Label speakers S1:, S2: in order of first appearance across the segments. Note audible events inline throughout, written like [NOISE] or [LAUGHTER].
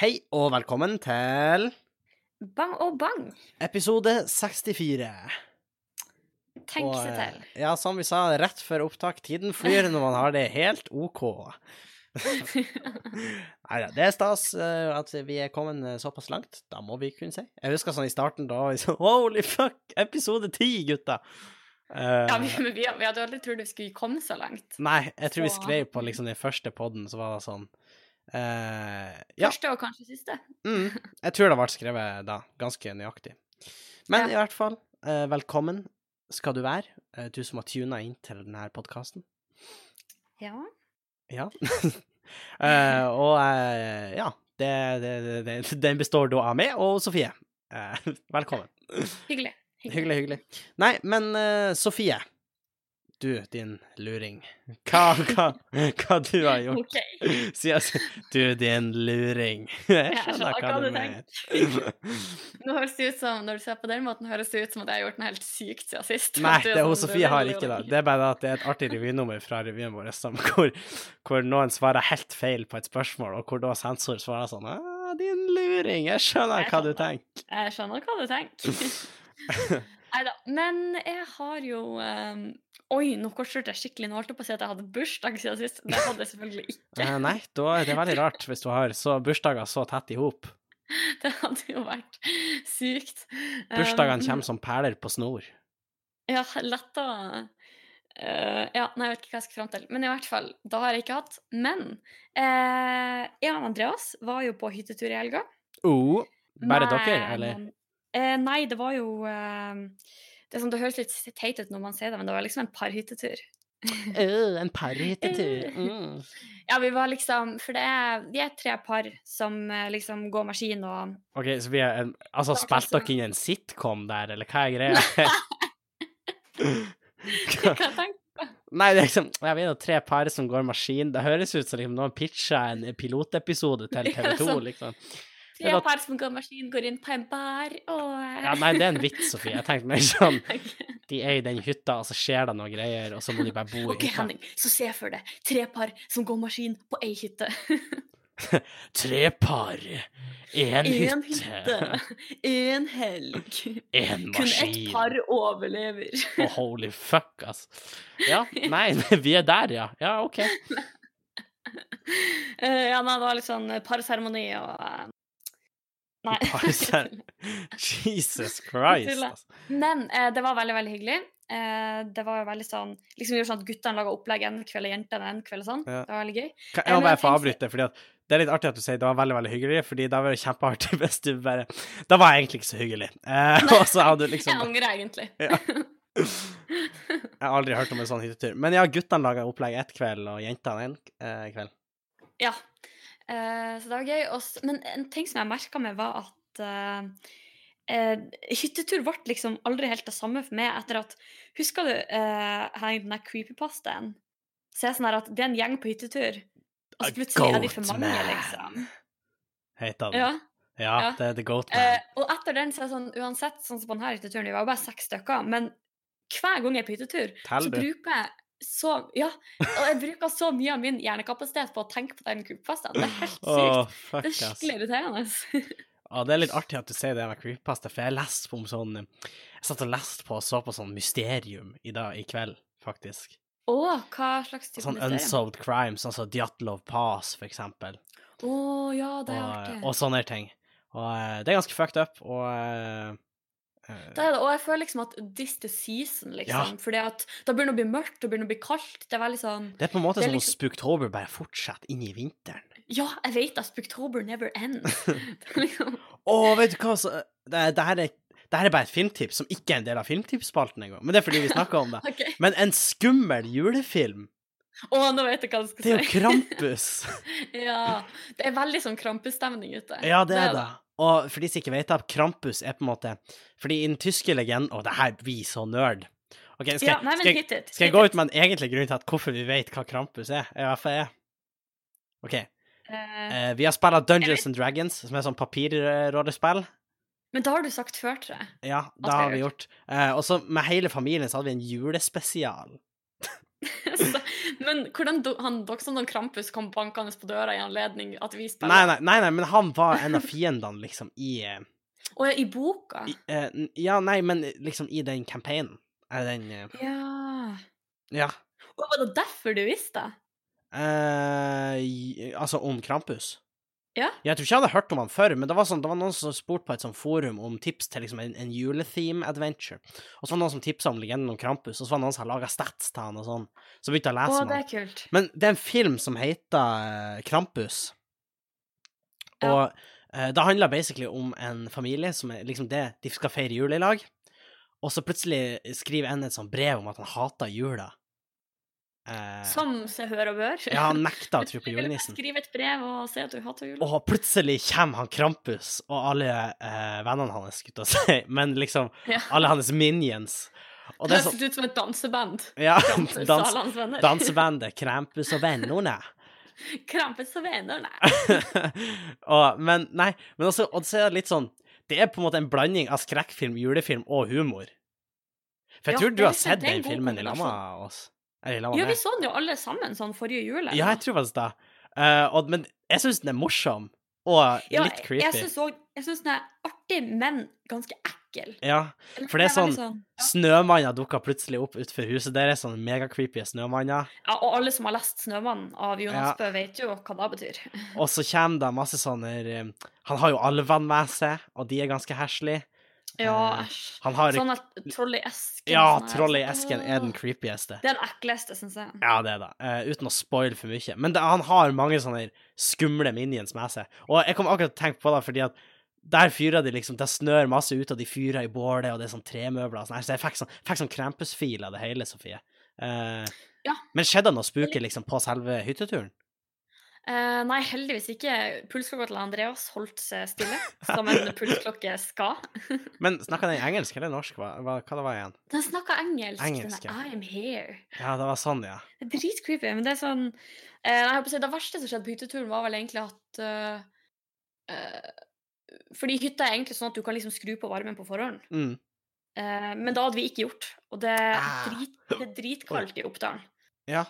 S1: Hei og velkommen til
S2: Bang og bang.
S1: episode 64.
S2: Tenk
S1: Og,
S2: seg
S1: eh,
S2: til.
S1: Ja, som vi sa rett før opptak, tiden flyr når man har det helt OK. [LAUGHS] Nei da, det er stas eh, at vi er kommet eh, såpass langt. Da må vi kunne si. Jeg husker sånn i starten da vi sånn, [LAUGHS] Holy fuck, episode ti, gutta! Eh,
S2: [LAUGHS] Ja, vi, men vi, vi hadde aldri trodd vi skulle komme så langt.
S1: Nei, jeg tror vi
S2: Så-
S1: skrev på liksom den første podden, så var det sånn eh, Ja.
S2: Første og kanskje siste.
S1: Mm, jeg tror det ble skrevet da, ganske nøyaktig. Men
S2: Ja.
S1: i hvert fall, eh, velkommen skal du være, eh, du som har tuna inn til denne podkasten.
S2: Ja.
S1: Ja. [LAUGHS] Eh, og eh, ja, det, det, det, det, den består da av meg og Sofie. Eh, [LAUGHS] velkommen.
S2: Hyggelig.
S1: Hyggelig, hyggelig. Nei, men eh, Sofie, du din luring, hva, hva, hva du har [LAUGHS] gjort
S2: OK.
S1: siden Du din luring. [LAUGHS] Jeg
S2: Jeg
S1: skjønner hva du mener.
S2: Nå høres det ut som, Når du ser på den måten, høres det ut som at jeg har gjort noe helt sykt siden sist.
S1: Nei,
S2: At
S1: det
S2: er
S1: er hun
S2: sånn,
S1: Sofie har
S2: veldig
S1: ikke det.
S2: rolig.
S1: Det er bare det at det er et artig revynummer fra revyen vår som, hvor, hvor noen svarer helt feil på et spørsmål, og hvor da sensor svarer sånn «Ah, din luring, jeg skjønner
S2: Jeg
S1: hva du
S2: skjønner.
S1: tenker.
S2: Jeg skjønner hva du tenker.
S1: [LAUGHS]
S2: Nei da. Men jeg har jo eh, Oi, nå kortsluttet jeg skikkelig. Nå holdt jeg på å si at jeg hadde bursdag siden sist. Det hadde jeg selvfølgelig ikke. [LAUGHS]
S1: Eh, Nei, da, det er veldig rart hvis du har så bursdager så tett i hop.
S2: Det hadde jo vært sykt.
S1: Bursdagene
S2: Um,
S1: kommer som perler på snor.
S2: Ja, letta eh, Ja, nei, jeg vet ikke hva jeg skal fram til. Men i hvert fall, da har jeg ikke hatt. Men eh, jeg og Andreas var jo på hyttetur i helga.
S1: Oh, bare dere,
S2: Men-
S1: eller?
S2: Eh, nei, det var jo eh, det, er sånn, det høres litt teit ut når man sier det, men det var liksom en parhyttetur.
S1: Øh, en parhyttetur. Mm.
S2: Ja, vi var liksom For det er, vi er tre par som eh, liksom går maskin
S1: [LAUGHS]
S2: og
S1: OK, så vi er en, Altså,
S2: Starter
S1: spilte
S2: som-
S1: dere inn en sitcom der, eller hva er [LAUGHS] greia? Hva-
S2: Hva tenker
S1: Nei, det er liksom Jeg vet jo tre par som går maskin. Det høres ut som liksom, noen pitcha en pilotepisode til
S2: [LAUGHS] Ja,
S1: TV 2,
S2: sånn.
S1: liksom.
S2: Tre
S1: Men at-
S2: par som går maskin, går inn på en bar og
S1: Ja,
S2: [LAUGHS]
S1: nei, det er en vits, Sofie. Jeg tenkte meg sånn De er i den hytta, og så skjer det noe greier, og så må de bare bo i
S2: OK,
S1: hytta.
S2: Henning, så se for deg tre par som går maskin på ei hytte.
S1: Tre par, én
S2: Én
S1: hytte,
S2: hytte, [LAUGHS] én helg.
S1: én
S2: Kun ett
S1: maskin.
S2: par overlever. [LAUGHS]
S1: Å, holy fuck, altså. Ja, nei, [LAUGHS] vi er der, ja. Ja, OK.
S2: Eh, ja, nei, det var litt sånn parseremoni og eh,
S1: [LAUGHS]
S2: Nei.
S1: Parser- Jesus
S2: [LAUGHS]
S1: Christ, altså.
S2: Men eh, det var veldig, veldig hyggelig. Eh, det var jo veldig sånn Liksom vi gjorde sånn at guttene laga opplegg en kveld og jentene en kveld og sånn.
S1: Ja.
S2: Det var veldig gøy.
S1: Kan
S2: Ja,
S1: jeg må
S2: men
S1: bare få
S2: jeg tenkte-
S1: avbryte, fordi at det er litt artig at du sier det var veldig veldig hyggelig, fordi da var det kjempeartig [LAUGHS] hvis du bare Da var jeg egentlig ikke så hyggelig. Eh, og så hadde du
S2: [LAUGHS] Jeg
S1: liksom
S2: angrer egentlig.
S1: Ja. Jeg har aldri hørt om en sånn hyttetur. Men ja, guttene laga opplegg ett kveld, og jentene en eh, kveld.
S2: Ja. Eh, så det var gøy. Og s- men en ting som jeg merka meg, var at eh, eh, hyttetur ble liksom aldri helt det samme for meg etter at Husker du eh, her- den der creepypastaen? Så jeg er sånn her at det er en gjeng på hyttetur, og så
S1: A
S2: plutselig er de for
S1: goat
S2: mange,
S1: man.
S2: liksom.
S1: Heter den.
S2: Ja.
S1: Ja, ja,
S2: ja.
S1: det er The Goat
S2: Eh,
S1: Man.
S2: og etter den så er det sånn uansett, sånn som på denne hytteturen, vi var bare seks stykker, men hver gang jeg er på hyttetur,
S1: Tell,
S2: så
S1: du.
S2: bruker jeg så Ja, og jeg bruker så mye av min hjernekapasitet på å tenke på den creepypastaen. Det er helt sykt.
S1: Å, fuck,
S2: Det er
S1: ass.
S2: skikkelig irriterende. [LAUGHS]
S1: Ja, det er litt artig at du sier det med creepypasta, for jeg leste på om sånn Jeg satt og leste på og så på sånn mysterium i dag i kveld, faktisk.
S2: Å, hva slags type
S1: Sånn
S2: mysterium?
S1: unsolved crimes, altså Djatlov Pass, for eksempel.
S2: Å ja, det er
S1: og,
S2: artig.
S1: og sånne ting. Og eh, det er ganske fucked up, og eh, eh,
S2: det er det, og jeg føler liksom at this the season, liksom. Fordi at da begynner det å bli mørkt, det begynner å bli kaldt. Det er veldig sånn
S1: det er på en måte
S2: det er
S1: som om
S2: liksom-
S1: Spooktober bare fortsetter inn i vinteren.
S2: Ja, jeg vet at Spooktober never
S1: [LAUGHS]
S2: ends. [LAUGHS] Det er liksom,
S1: Å, vet du hva, så eh, Det, det, her er, det her er bare et filmtips som ikke er en del av filmtipsspalten engang, men det er fordi vi snakker om [LAUGHS] det.
S2: ok.
S1: Men en skummel julefilm,
S2: Å, nå vet jeg hva du
S1: det
S2: skal
S1: er jo
S2: si.
S1: Krampus! [LAUGHS]
S2: Ja, det er veldig sånn krampestemning ute.
S1: Ja, det er det. Og for de som ikke vet det, Krampus er på en måte Fordi i den tyske legenden Å, det her blir så nerd. Ok, skal,
S2: ja,
S1: jeg-
S2: nei,
S1: skal,
S2: men
S1: jeg-
S2: hit it.
S1: Skal jeg gå ut med en egentlig grunn til at hvorfor vi vet hva Krampus er? I hvert fall jeg. OK. eh, vi har spilt Dungeons and Dragons, som er sånn papirrollespill.
S2: men da har du sagt før, tror jeg. [LAUGHS]
S1: Ja, det
S2: har
S1: har
S2: jeg
S1: vi gjort. Eh, og så med hele familien så hadde vi en julespesial.
S2: Så, men hvordan do, han Doxandon Krampus kom bankende på døra i anledning at vi spiller
S1: Nei, nei, nei, nei, men han var en av fiendene, liksom, i, eh,
S2: Og i boka?
S1: i eh, n- Ja, nei, men liksom i den campaignen. Eller den eh,
S2: Ja.
S1: Ja.
S2: Og var det derfor du visste det?
S1: Eh, i- altså om Krampus.
S2: Ja.
S1: Jeg tror ikke jeg hadde hørt om han før, men det var, sånn, det var noen som spurte på et sånt forum om tips til liksom, en, en juletheme-adventure. Og så var det noen som tipsa om legenden om Krampus, og så var det noen som hadde laga stats til han og sånn. Så begynte jeg å
S2: Å,
S1: lese om
S2: det
S1: han.
S2: er kult.
S1: Men det er en film som heter eh, Krampus. Og
S2: Ja.
S1: eh, det handler basically om en familie som er liksom det De skal feire jul i lag, og så plutselig skriver en et sånt brev om at han hater jula. Eh,
S2: Som se, hør og bør.
S1: ja, han nekta å
S2: [LAUGHS]
S1: tro på
S2: Vil du bare
S1: julenissen.
S2: Skrive et brev og si at du hater jul.
S1: Og plutselig kommer han Krampus og alle eh, vennene hans, skulle jeg til å si, [LAUGHS] men liksom
S2: Ja.
S1: alle hans minions. Og det
S2: det
S1: er
S2: [LAUGHS]
S1: sånn
S2: høres ut som et
S1: [LAUGHS]
S2: danseband.
S1: Ja,
S2: Krampus og
S1: dans,
S2: alle hans venner. [LAUGHS]
S1: dansebandet Krampus og vennene. [LAUGHS]
S2: Krampus og venner, nei.
S1: og, men nei, men også, og så er det litt sånn Det er på en måte en blanding av skrekkfilm, julefilm og humor. For jeg
S2: Ja,
S1: tror du
S2: det er
S1: har
S2: litt-
S1: sett
S2: det er en
S1: den
S2: god
S1: filmen i lag
S2: kombinasjon.
S1: med oss. Eller i lag
S2: Ja,
S1: med
S2: vi så den jo alle sammen sånn forrige jul. eller?
S1: Ja, jeg tror faktisk det. Eh, og, men jeg syns den er morsom, og
S2: Ja,
S1: litt creepy.
S2: Jeg, synes også- jeg syns den er artig, men ganske ekkel.
S1: Ja,
S2: Eller
S1: For det er sånn-
S2: den veldig sånn- ja.
S1: snømanner dukker plutselig opp utenfor huset deres, sånne sånn megacreepy snømanner.
S2: Ja, og alle som har lest 'Snømannen' av Jonas
S1: Ja.
S2: Bø, vet jo hva det betyr. [LAUGHS]
S1: Og så kommer det masse sånne eh, Han har jo alvene med seg, og de er ganske heslige.
S2: Ja,
S1: Eh,
S2: æsj.
S1: Han har
S2: Sånn at troll i esken
S1: Ja,
S2: sånn her,
S1: troll i
S2: sånn,
S1: esken er den
S2: åh.
S1: creepieste.
S2: Det er den ekleste, syns jeg.
S1: Ja, det er det. Eh, uten å spoile for mye. Men det, han har mange sånne skumle minions med seg. Og jeg kom akkurat til å tenke på det, fordi at der fyrer de liksom Det snør masse ut, og de fyrer i bålet, og det er sånn tremøbler og sånn. her, Så jeg fikk sånn, fikk sånn Krampus-fil av det hele, Sofie. Eh,
S2: Ja.
S1: Men skjedde det noe spooky liksom på selve hytteturen?
S2: Eh, nei, heldigvis ikke. Pulsklokka til Andreas holdt seg stille, som
S1: [LAUGHS]
S2: en pulsklokke skal.
S1: Men snakka den engelsk eller norsk? Hva, hva, hva det var igjen?
S2: Den snakker engelsk.
S1: Engelsk,
S2: den
S1: ja.
S2: er, I'm here.
S1: Ja, det var sånn, ja.
S2: Det er dritcreepy, men det er sånn eh, nei, jeg holdt på å si, Det verste som skjedde på hytteturen, var vel egentlig at eh, eh, Fordi hytta er egentlig sånn at du kan liksom skru på varmen på forhånd.
S1: Mm.
S2: Eh, men da hadde vi ikke gjort, og det er,
S1: Ah.
S2: drit, det er dritkaldt i Oppdalen.
S1: Ja.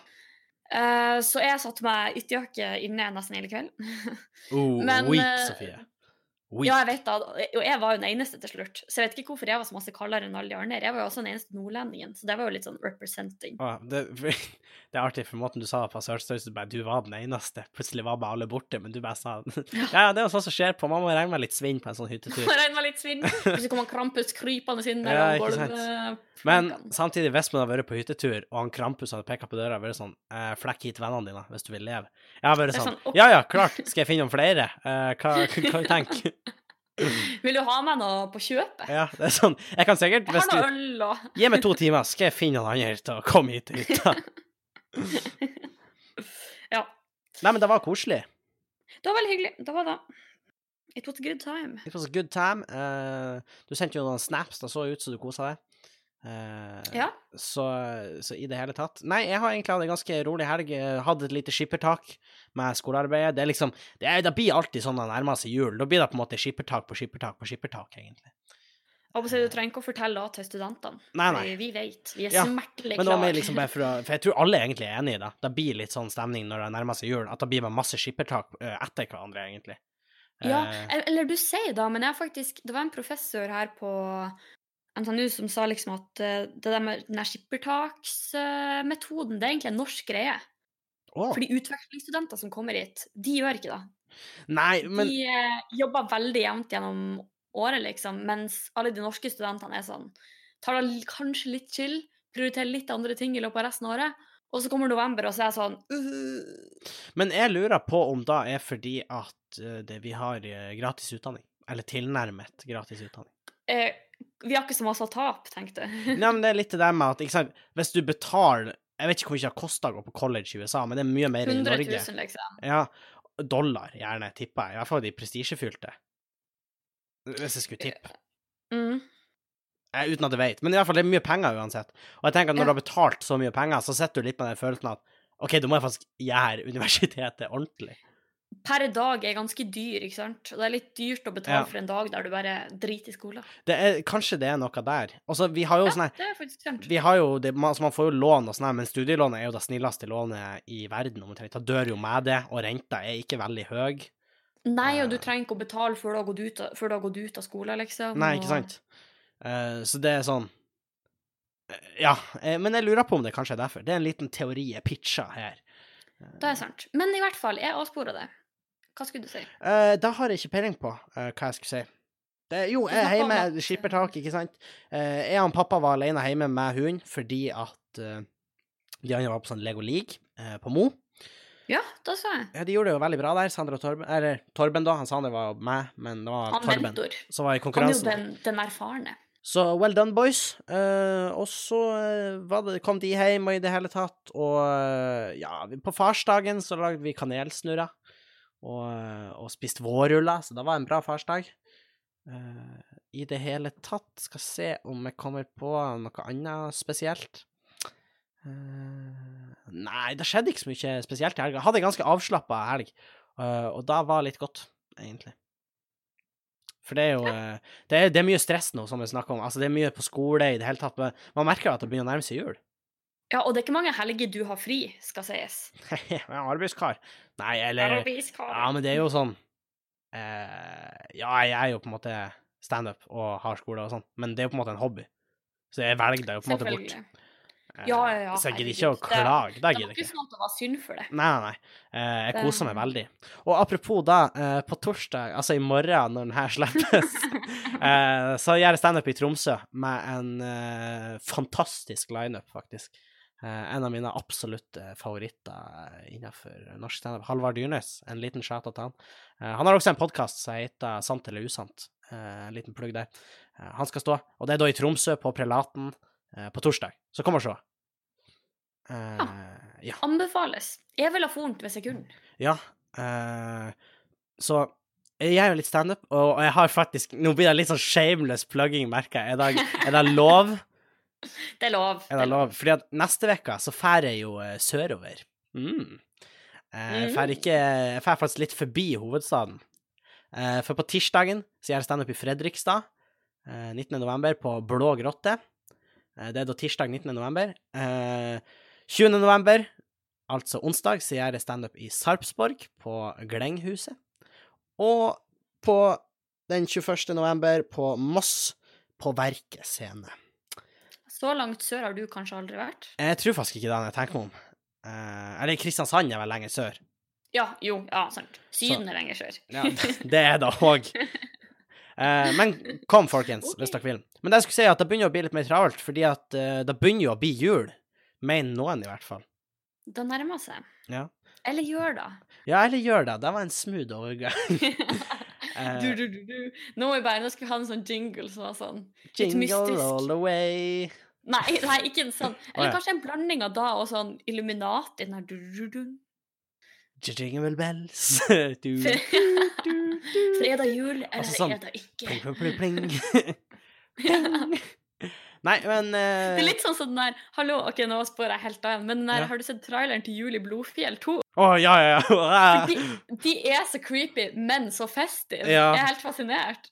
S2: Eh, så jeg satte meg ytterjakke inne nesten hele kvelden. [LAUGHS]
S1: Oh,
S2: Men,
S1: weak,
S2: eh,
S1: Sofie.
S2: ja, jeg
S1: Weak.
S2: vet da, og jeg var jo den eneste til slutt, så jeg vet ikke hvorfor jeg var så masse kaldere enn alle de andre. Jeg var jo også den eneste nordlendingen, så det var jo litt sånn representing.
S1: Å, det, [LAUGHS] det er artig, for måten du sa det på Sørstøysen, bare du var den eneste. Plutselig var bare alle borte, men du bare sa [LAUGHS] Ja, ja, det er jo sånt som skjer på Man må regne med litt svinn på en sånn
S2: [LAUGHS]
S1: hyttetur.
S2: Regnet meg litt svinn. Plutselig kommer Krampus krypende inn
S1: Ja,
S2: mellom
S1: ikke sant.
S2: gulvet.
S1: Men samtidig, hvis man har vært på hyttetur, og han Krampus hadde peka på døra og vært sånn eh, Flekk hit vennene dine hvis du vil leve. Jeg har vært
S2: Det er
S1: sånn
S2: sånn, ok.
S1: Ja ja, klart. Skal jeg finne noen flere? Eh, hva, hva, hva du
S2: [LAUGHS]
S1: tenker
S2: Vil du ha meg noe på kjøpet?
S1: Ja, det er sånn. Jeg kan sikkert,
S2: Jeg
S1: hvis
S2: har
S1: du
S2: noe øl og
S1: Gi meg to timer, skal jeg finne noen andre til å komme hit til [LAUGHS] hytta.
S2: Ja.
S1: Nei, men det var koselig.
S2: Det var veldig hyggelig. Det var det. It was a good time.
S1: It was a good time. Eh, du sendte jo noen snaps, det så ut som du kosa deg. Eh,
S2: Ja.
S1: så, så i det hele tatt Nei, jeg har egentlig hatt en ganske rolig helg. eh, Hatt et lite skippertak med skolearbeidet. Det er liksom Det, er, det blir alltid sånn når det nærmer seg jul. Da blir det på en måte skippertak på skippertak på skippertak, egentlig.
S2: Og så Du trenger ikke å fortelle det til studentene.
S1: Eh. Nei, nei.
S2: fordi Vi vet. Vi er
S1: Ja,
S2: smertelig
S1: Men det var
S2: klare.
S1: mer liksom bare for å For jeg tror alle egentlig er enig i det. Det blir litt sånn stemning når det nærmer seg jul, at det blir bare masse skippertak eh, etter hverandre, egentlig.
S2: Ja,
S1: Eh,
S2: el- eller du sier da, men jeg har faktisk Det var en professor her på NTNU som sa liksom at eh, det der med den der skippertaksmetoden, det er egentlig en norsk greie.
S1: å,
S2: Fordi utvekslingsstudenter som kommer hit, de gjør ikke det.
S1: nei, men
S2: De eh, jobber veldig jevnt gjennom året, liksom, mens alle de norske studentene er sånn Tar det l- kanskje litt chill, prioriterer litt andre ting i løpet av resten av året, og så kommer november, og så er jeg sånn «Øh,
S1: Men jeg lurer på om da er fordi at eh, det, vi har eh, gratis utdanning. Eller tilnærmet gratis utdanning.
S2: eh, Vi har ikke så masse å tape, tenkte jeg.
S1: Nei, men det er litt det der med at ikke sant, hvis du betaler Jeg vet ikke hvor mye det koster å gå på college i USA, men det er mye
S2: [LAUGHS]
S1: mer enn i
S2: 100
S1: Norge.
S2: 000, liksom.
S1: Ja, dollar, gjerne, tipper jeg. I hvert fall de prestisjefylte. Hvis jeg skulle tippe.
S2: Mm.
S1: Eh, uten at jeg vet. Men i hvert fall, det er mye penger uansett. Og jeg tenker at når
S2: Ja.
S1: du har betalt så mye penger, så sitter du litt med den følelsen at OK, da må jeg faktisk gjøre universitetet ordentlig.
S2: per dag er ganske dyr, ikke sant? Og det er litt dyrt å
S1: Ja.
S2: betale for en dag der du bare driter i skolen.
S1: Det er, kanskje det er noe der. Altså, vi har jo sånn her
S2: Ja, det er faktisk sant.
S1: vi har jo, det, man, altså, man får jo lån og sånn, her, men studielånet er jo det snilleste lånet i verden. omtrent. Da dør jo med det, og renta er ikke veldig høy.
S2: Nei, og du
S1: Eh.
S2: trenger ikke å betale før du har gått ut av, før du har gått ut av skolen, liksom.
S1: Nei,
S2: og-
S1: ikke sant? Eh, så det er sånn Eh, Ja, eh, men jeg lurer på om det kanskje er derfor. Det er en liten teori jeg pitcha her.
S2: Det er sant. Men i hvert fall, jeg avspora det. Hva skulle du si?
S1: Eh, da har jeg ikke peiling på eh, hva jeg skulle si. Det, jo, jeg er
S2: snakket om
S1: hjemme,
S2: at-
S1: skipper tak, ikke sant. Eh, jeg og han pappa var alene hjemme med hund fordi at eh, de andre var på sånn Lego League eh, på Mo.
S2: Ja, da sa jeg.
S1: Ja, de gjorde det jo veldig bra der, Sander og Torben. Eller Torben, da. Han Sander var med, men det var
S2: Han
S1: Torben
S2: mentor.
S1: som var i
S2: Han er jo
S1: konkurransen.
S2: den, den erfarne.
S1: Så well done, boys. Eh, og så eh, var det, kom de hjem og i det hele tatt, og eh, ja, vi- på farsdagen så lagde vi kanelsnurrer og, eh, og spiste vårruller, så det var en bra farsdag. Eh, I det hele tatt skal se om jeg kommer på noe annet spesielt. Eh, nei, det skjedde ikke så mye spesielt i helga. Hadde en ganske avslappa helg, eh, og da var litt godt, egentlig. For det er jo eh, det er, det er mye stress nå, som vi snakker om. Altså, det er mye på skole i det hele tatt. men Man merker at det begynner å nærme seg jul. [LAUGHS]
S2: Ja, og det er ikke mange helger du har fri, skal sies.
S1: jeg er arbeidskar. Nei, eller Ja,
S2: Ja,
S1: men det er jo sånn eh, Ja, jeg er jo på en måte standup og har skole og sånn, men det er jo på en måte en hobby. Så jeg velger det jo på en måte bort.
S2: Selvfølgelig. Ja, ja, ja,
S1: Eh, Så jeg gidder ikke å
S2: herregud. Det-
S1: klage. Det
S2: Det var
S1: gidder jeg
S2: ikke
S1: ikke.
S2: sånn at det var synd for
S1: [LAUGHS]
S2: det.
S1: Nei, nei, nei. Eh, jeg
S2: Det-
S1: koser meg veldig. Og apropos da, eh, på torsdag, altså i morgen når den her slippes, eh, så gjør jeg standup i Tromsø med en eh, fantastisk lineup, faktisk. Eh, en av mine absolutte favoritter eh, innenfor norsk standup, Halvard Dyrnes. En liten shout til han. Eh, han har også en podkast som heter Sant eller usant. Eh, en liten plugg der. Eh, han skal stå, og det er da i Tromsø, på Prelaten, eh, på torsdag. Så kom og se. Eh, ja.
S2: Anbefales. Jeg ville ha fornt hvis jeg kunne.
S1: Ja. eh, så jeg gjør jo litt standup, og, og jeg har faktisk Nå blir det litt sånn shameless plugging, merker jeg. Er det, er det lov?
S2: Det er lov.
S1: Er det lov? Fordi at neste uke så drar jeg jo eh, sørover. Mm. Eh, Jeg drar ikke Jeg drar faktisk litt forbi hovedstaden. Eh, for på tirsdagen så gjør jeg standup i Fredrikstad, eh, 19. november, på Blå grotte. Eh, det er da tirsdag 19. november. Eh, 20. november, altså onsdag, så gjør jeg standup i Sarpsborg, på Glenghuset. Og på den 21. november på Moss, på Verket scene.
S2: Så langt sør har du kanskje aldri vært?
S1: Eh, Jeg tror faktisk ikke det når jeg tenker meg om. Eh, eller Kristiansand er vel lenger sør.
S2: Ja, jo, ja, sant. Syden er lenger sør. [LAUGHS]
S1: Ja, det er det òg. men kom, folkens,
S2: Ok.
S1: hvis dere vil. Men det jeg skulle si er at det begynner å bli litt mer travelt, fordi at eh, det begynner jo å bli jul. Mener noen, i hvert fall.
S2: Det nærmer seg.
S1: Ja.
S2: Eller gjør
S1: [LAUGHS]
S2: det.
S1: Ja, eller gjør det. Det var en smooth overgang. Eh,
S2: du, du, du, du. Nå er jeg bare, nå skal vi ha en sånn jingle som er sånn
S1: Jingle
S2: mystisk.
S1: all the way.
S2: Nei, nei ikke en sånn. Eller
S1: ja.
S2: kanskje en blanding av da og sånn Illuminati. Den her du, du, du.
S1: Jingle bells. [LAUGHS] du,
S2: [LAUGHS]
S1: du, du.
S2: Fredag jul, eller
S1: Altså sånn,
S2: er det ikke?
S1: Pling,
S2: [LAUGHS]
S1: pling, pling. pling. [LAUGHS] Pling. Nei, men eh,
S2: Det er litt sånn som den der Hallo, ok, nå spår jeg helt av igjen, men den der,
S1: Ja.
S2: har du sett traileren til Jul i Blodfjell 2?
S1: Å, ja, ja, ja.
S2: For de, de er så creepy, men så festive.
S1: Ja.
S2: Jeg er helt fascinert.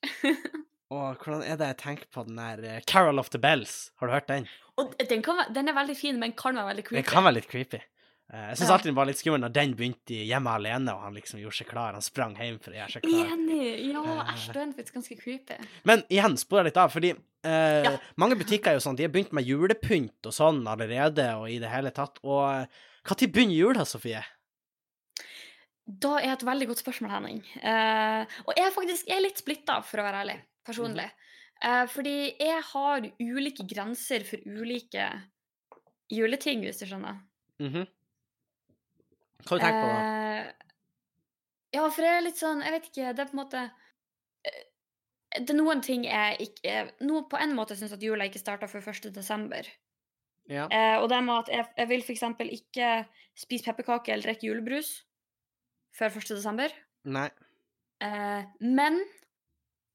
S1: Og hvordan er det jeg tenker på den der eh, Carol of the Bells? Har du hørt den?
S2: Og den, kan, være- den er veldig fin, men kan være veldig
S1: Den
S2: creepy.
S1: kan være litt creepy. Eh, Jeg syns
S2: Ja.
S1: alltid den var litt skummel når den begynte i hjemme alene, og han liksom gjorde seg klar. Han sprang hjem for å gjøre seg klar.
S2: Enig!
S1: [LAUGHS]
S2: Ja,
S1: Eh.
S2: æsj, da er den faktisk ganske creepy.
S1: Men igjen, sporer litt av, fordi eh,
S2: Ja.
S1: mange butikker er jo sånn, de har begynt med julepynt og sånn allerede, og i det hele tatt. Og når begynner jula, Sofie?
S2: Da er et veldig godt spørsmål, Henning. Eh, og jeg er faktisk jeg er litt splitta, for å være ærlig, personlig. Eh, fordi jeg har ulike grenser for ulike juleting, hvis du skjønner.
S1: Mhm. Hva har du tenkt på da?
S2: Eh, ja, for jeg er litt sånn Jeg vet ikke, det er på en måte eh, det er noen ting jeg ikke eh, noe På en måte syns at jula ikke starta før 1. desember.
S1: Ja.
S2: Eh, og det med at jeg, jeg vil f.eks. ikke spise pepperkaker eller drikke julebrus før 1. desember.
S1: Nei.
S2: Eh, men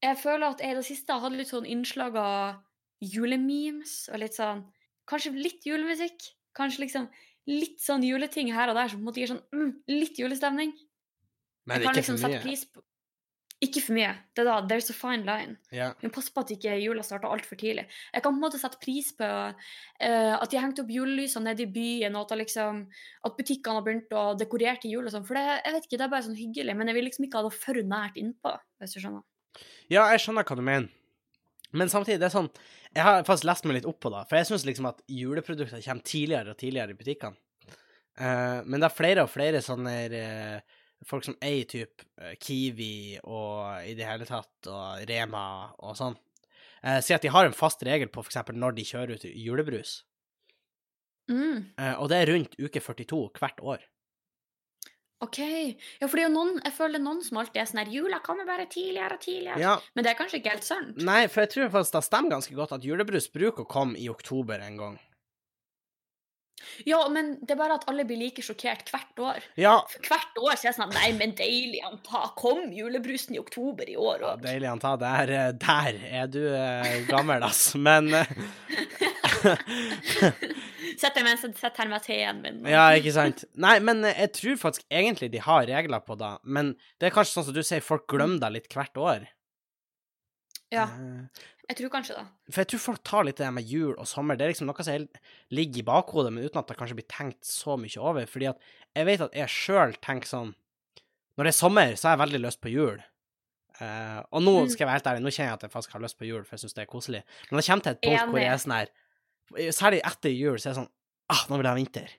S2: jeg føler at jeg i det siste har hatt litt sånn innslag av julememes og litt sånn Kanskje litt julemusikk. Kanskje liksom litt sånn juleting her og der som på en måte gir sånn mm, litt julestemning.
S1: Men
S2: jeg kan
S1: ikke
S2: liksom
S1: for
S2: sette
S1: mye.
S2: pris på Ikke for mye. Det er da There's a fine line.
S1: Ja.
S2: Vi må passe på at ikke jula starter altfor tidlig. Jeg kan på en måte sette pris på eh, at de har hengt opp julelysene nede i byen, og at, det liksom, at butikkene har begynt å dekorere til jul og sånn. For det, jeg vet ikke, det er bare sånn hyggelig, men jeg vil liksom ikke ha det for nært innpå, hvis du skjønner.
S1: ja, jeg skjønner hva du mener. Men samtidig, det er sånn Jeg har faktisk lest meg litt opp på det, for jeg syns liksom at juleprodukter kommer tidligere og tidligere i butikkene. Eh, men det er flere og flere sånne eh, folk som eier type Kiwi og i det hele tatt og Rema og sånn. Uh, sier at de har en fast regel på f.eks. når de kjører ut julebrus,
S2: Mm.
S1: Eh, og det er rundt uke 42 hvert år.
S2: OK. Ja, for det er jo noen, jeg føler det er noen som alltid er sånn her Jula kommer bare tidligere og tidligere.
S1: Ja,
S2: Men det er kanskje ikke helt sant?
S1: Nei, for jeg tror faktisk det stemmer ganske godt at julebrus bruker å komme i oktober en gang.
S2: Ja, men det er bare at alle blir like sjokkert hvert år.
S1: Ja,
S2: For hvert år så er jeg sånn at Nei, men deilig, han ta, kom julebrusen i oktober i år
S1: ja
S2: òg.
S1: deilig anta. Der, eh, der er du eh, gammel, ass. Men [LAUGHS] eh,
S2: Sett deg med, sett her med teen min. og-
S1: Ja, ikke sant? Nei, men eh, jeg tror faktisk egentlig de har regler på det. Men det er kanskje sånn som du sier, folk glemmer det litt hvert år.
S2: ja,
S1: Eh,
S2: jeg tror kanskje det.
S1: For jeg tror folk tar litt det her med jul og sommer. Det er liksom noe som hel- ligger i bakhodet, men uten at det kanskje blir tenkt så mye over. Fordi at jeg vet at jeg sjøl tenker sånn Når det er sommer, så har jeg veldig lyst på jul. Eh, og nå
S2: Mm.
S1: skal jeg være helt ærlig, nå kjenner jeg at jeg faktisk har lyst på jul, for jeg syns det er koselig. Men det kommer til et punkt hvor jeg er sånn her Særlig etter jul, så er jeg sånn Ah, nå vil jeg ha vinter.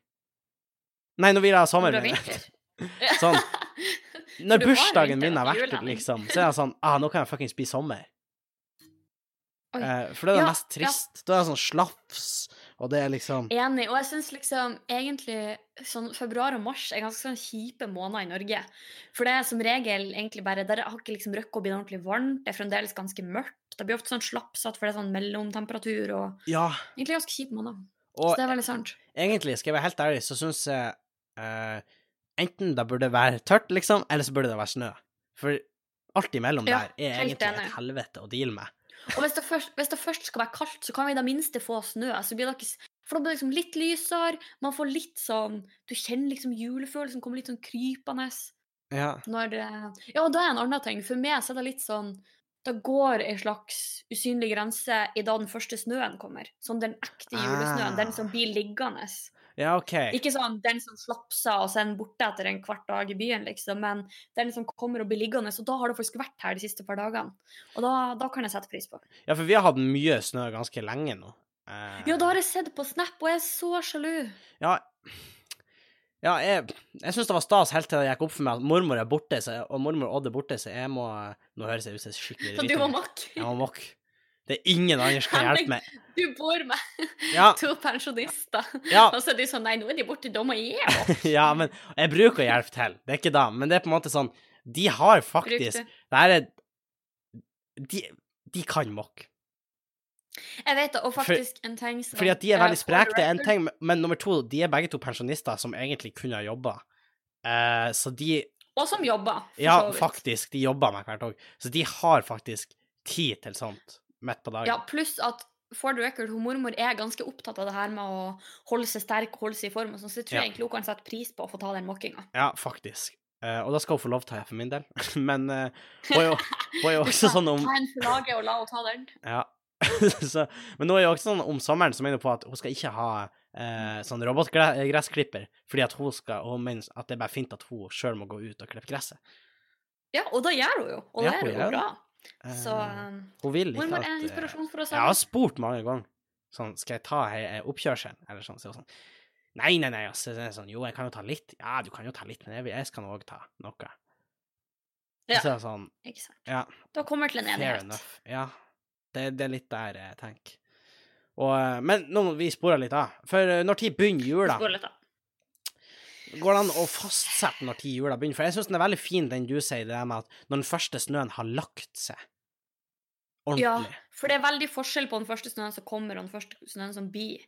S1: Nei, nå vil jeg ha sommer.
S2: Bra
S1: mener jeg.
S2: vinter.
S1: [LAUGHS] Sånn.
S2: [LAUGHS]
S1: Når
S2: du har
S1: bursdagen
S2: vinter,
S1: min har
S2: ikke
S1: vært,
S2: jula.
S1: liksom, så er jeg sånn Ah, nå kan jeg fuckings bli sommer.
S2: Oi.
S1: Eh, for det er det
S2: Ja,
S1: mest trist. Da er det sånn slafs, og det er liksom
S2: Enig. Og jeg syns liksom egentlig sånn februar og mars er ganske sånn kjipe måneder i Norge. For det er som regel egentlig bare Der har ikke liksom røkket å bli ordentlig varmt. Det er fremdeles ganske mørkt. Det blir ofte sånn slappsatt, for det er sånn mellomtemperatur og
S1: Ja.
S2: Egentlig ganske kjip måned. Så
S1: Og
S2: det er veldig sant.
S1: egentlig, skal jeg være helt ærlig, så syns jeg eh, enten det burde være tørt, liksom, eller så burde det være snø. For alt imellom
S2: Ja,
S1: der er
S2: helt
S1: egentlig
S2: enig.
S1: et helvete å deale med.
S2: Og hvis det, først, hvis det først skal være kaldt, så kan vi i det minste få snø. Så blir det ikke, s- for da blir det liksom litt lysere, man får litt sånn Du kjenner liksom julefølelsen kommer litt sånn krypende.
S1: Ja.
S2: Når det, ja, og da er en annen ting. For meg så er det litt sånn Da går ei slags usynlig grense i da den første snøen kommer. Sånn den ekte julesnøen. Den som
S1: Ah.
S2: blir liggende.
S1: ja, OK.
S2: Ikke sånn den som slapser og så er den borte etter en kvart dag i byen, liksom. Men den som kommer og blir liggende. Og da har det faktisk vært her de siste par dagene. Og da, da kan jeg sette pris på.
S1: Ja, for vi har hatt mye snø ganske lenge nå. Eh,
S2: Ja, da har jeg sett på Snap, og jeg er så sjalu.
S1: Ja, ja jeg, jeg syns det var stas helt til det gikk opp for meg at mormor er borte, så, og mormor Odd er borte, så jeg må Nå høres jeg ut som en
S2: [LAUGHS]
S1: skikkelig
S2: Så du
S1: driting.
S2: må makke.
S1: Jeg må mokke. Det er ingen andre
S2: [LAUGHS]
S1: som kan hjelpe meg.
S2: Du bor med
S1: Ja,
S2: to pensjonister,
S1: ja, [LAUGHS]
S2: og så er de sånn Nei, nå er de borte, da må jeg hjem.
S1: ja, men jeg bruker å hjelpe til, det er ikke da, men det er på en måte sånn De har
S2: Bruk
S1: [LAUGHS] faktisk
S2: det.
S1: Det her er De, de kan mokke.
S2: Jeg vet det, og
S1: For-
S2: faktisk en ting som
S1: Fordi at de er
S2: eh,
S1: veldig spreke,
S2: for
S1: det er en
S2: record-
S1: ting, men- men nummer to, de er begge to pensjonister som egentlig kunne ha jobba. Eh, så de
S2: Og som jobber. for
S1: Ja,
S2: så vidt.
S1: faktisk, de jobber med hvert år. Så de har faktisk tid til sånt midt på
S2: Ja,
S1: dagen.
S2: pluss at for the record, hun mormor er ganske opptatt av det her med å holde seg sterk holde seg i form, og sånn, så jeg tror
S1: Ja.
S2: egentlig hun kan sette pris på å få ta den mokkinga.
S1: Ja, faktisk. Eh, og da skal hun få lov til det for min del. [LAUGHS] Men eh, hun er
S2: [LAUGHS]
S1: jo- hun er jo også sånn om
S2: Ta en for laget og la henne ta den.
S1: Ja. [LAUGHS] så, men nå er jo også sånn om sommeren så mener hun på at hun skal ikke ha
S2: Mm.
S1: eh, sånn robotgressklipper, fordi at hun skal Hun mener at det er bare fint at hun sjøl må gå ut og klippe gresset.
S2: Ja, og da gjør hun jo, og
S1: Ja,
S2: det
S1: hun
S2: er
S1: gjør
S2: jo bra.
S1: Eh,
S2: Så eh,
S1: hun vil ikke
S2: mormor
S1: at
S2: er en
S1: eh,
S2: inspirasjon for oss
S1: Jeg har spurt mange ganger sånn Skal jeg ta he- eh, oppkjørselen, eller sånn, så er hun sånn Nei, nei, nei, ass. Så er det sånn, jo, jeg kan jo ta litt. Ja, du kan jo ta litt, men jeg, vil- jeg skal nå òg ta noe.
S2: Ja.
S1: Så er det sånn,
S2: Ikke sant.
S1: Ja.
S2: Da kommer til en
S1: Fair
S2: enighet.
S1: enough. Ja. Det, det er litt der jeg tenker. Og, eh, men nå må vi spore litt av. For eh, når tid begynner
S2: Vi
S1: jula?
S2: spoler litt, da.
S1: Går det an å fastsette når tid jula begynner? For jeg syns den er veldig fin, den du sier, det der med at når den første snøen har lagt seg
S2: Ja,
S1: ordentlig.
S2: for det er veldig forskjell på den første snøen som kommer, og den første snøen som blir.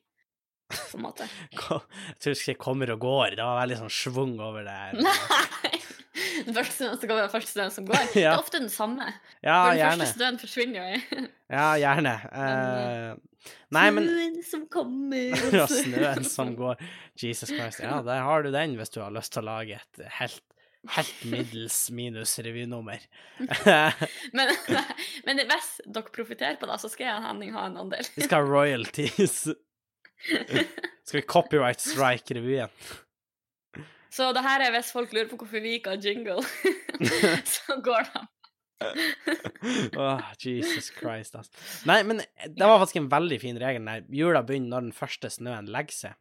S2: På en måte.
S1: Ko- Jeg tror ikke jeg kommer og går. Det var veldig sånn schwung over det. her.
S2: Nei! Den første snøen som kommer, den første snøen som går. Det
S1: Ja.
S2: er ofte den samme.
S1: Ja,
S2: For den
S1: gjerne.
S2: første snøen forsvinner jo. i-
S1: Ja, gjerne. Eh, nei, men
S2: [LAUGHS]
S1: [LAUGHS]
S2: Snøen som kommer
S1: Og snøen som går. Jesus Christ. Ja, der har du den, hvis du har lyst til å lage et helt Helt middels minus revynummer. [LAUGHS]
S2: Men, men hvis dere profitterer på det, så skal jeg og Henning ha en andel.
S1: Vi skal ha royalties.
S2: [LAUGHS]
S1: Skal vi copyright strike revyen?
S2: Så det her er hvis folk lurer på hvorfor vi ikke har jingle, [LAUGHS] så går det.
S1: Åh, Jesus Christ, altså. Nei, men det var faktisk en veldig fin regel der. Jula begynner når den første snøen legger seg.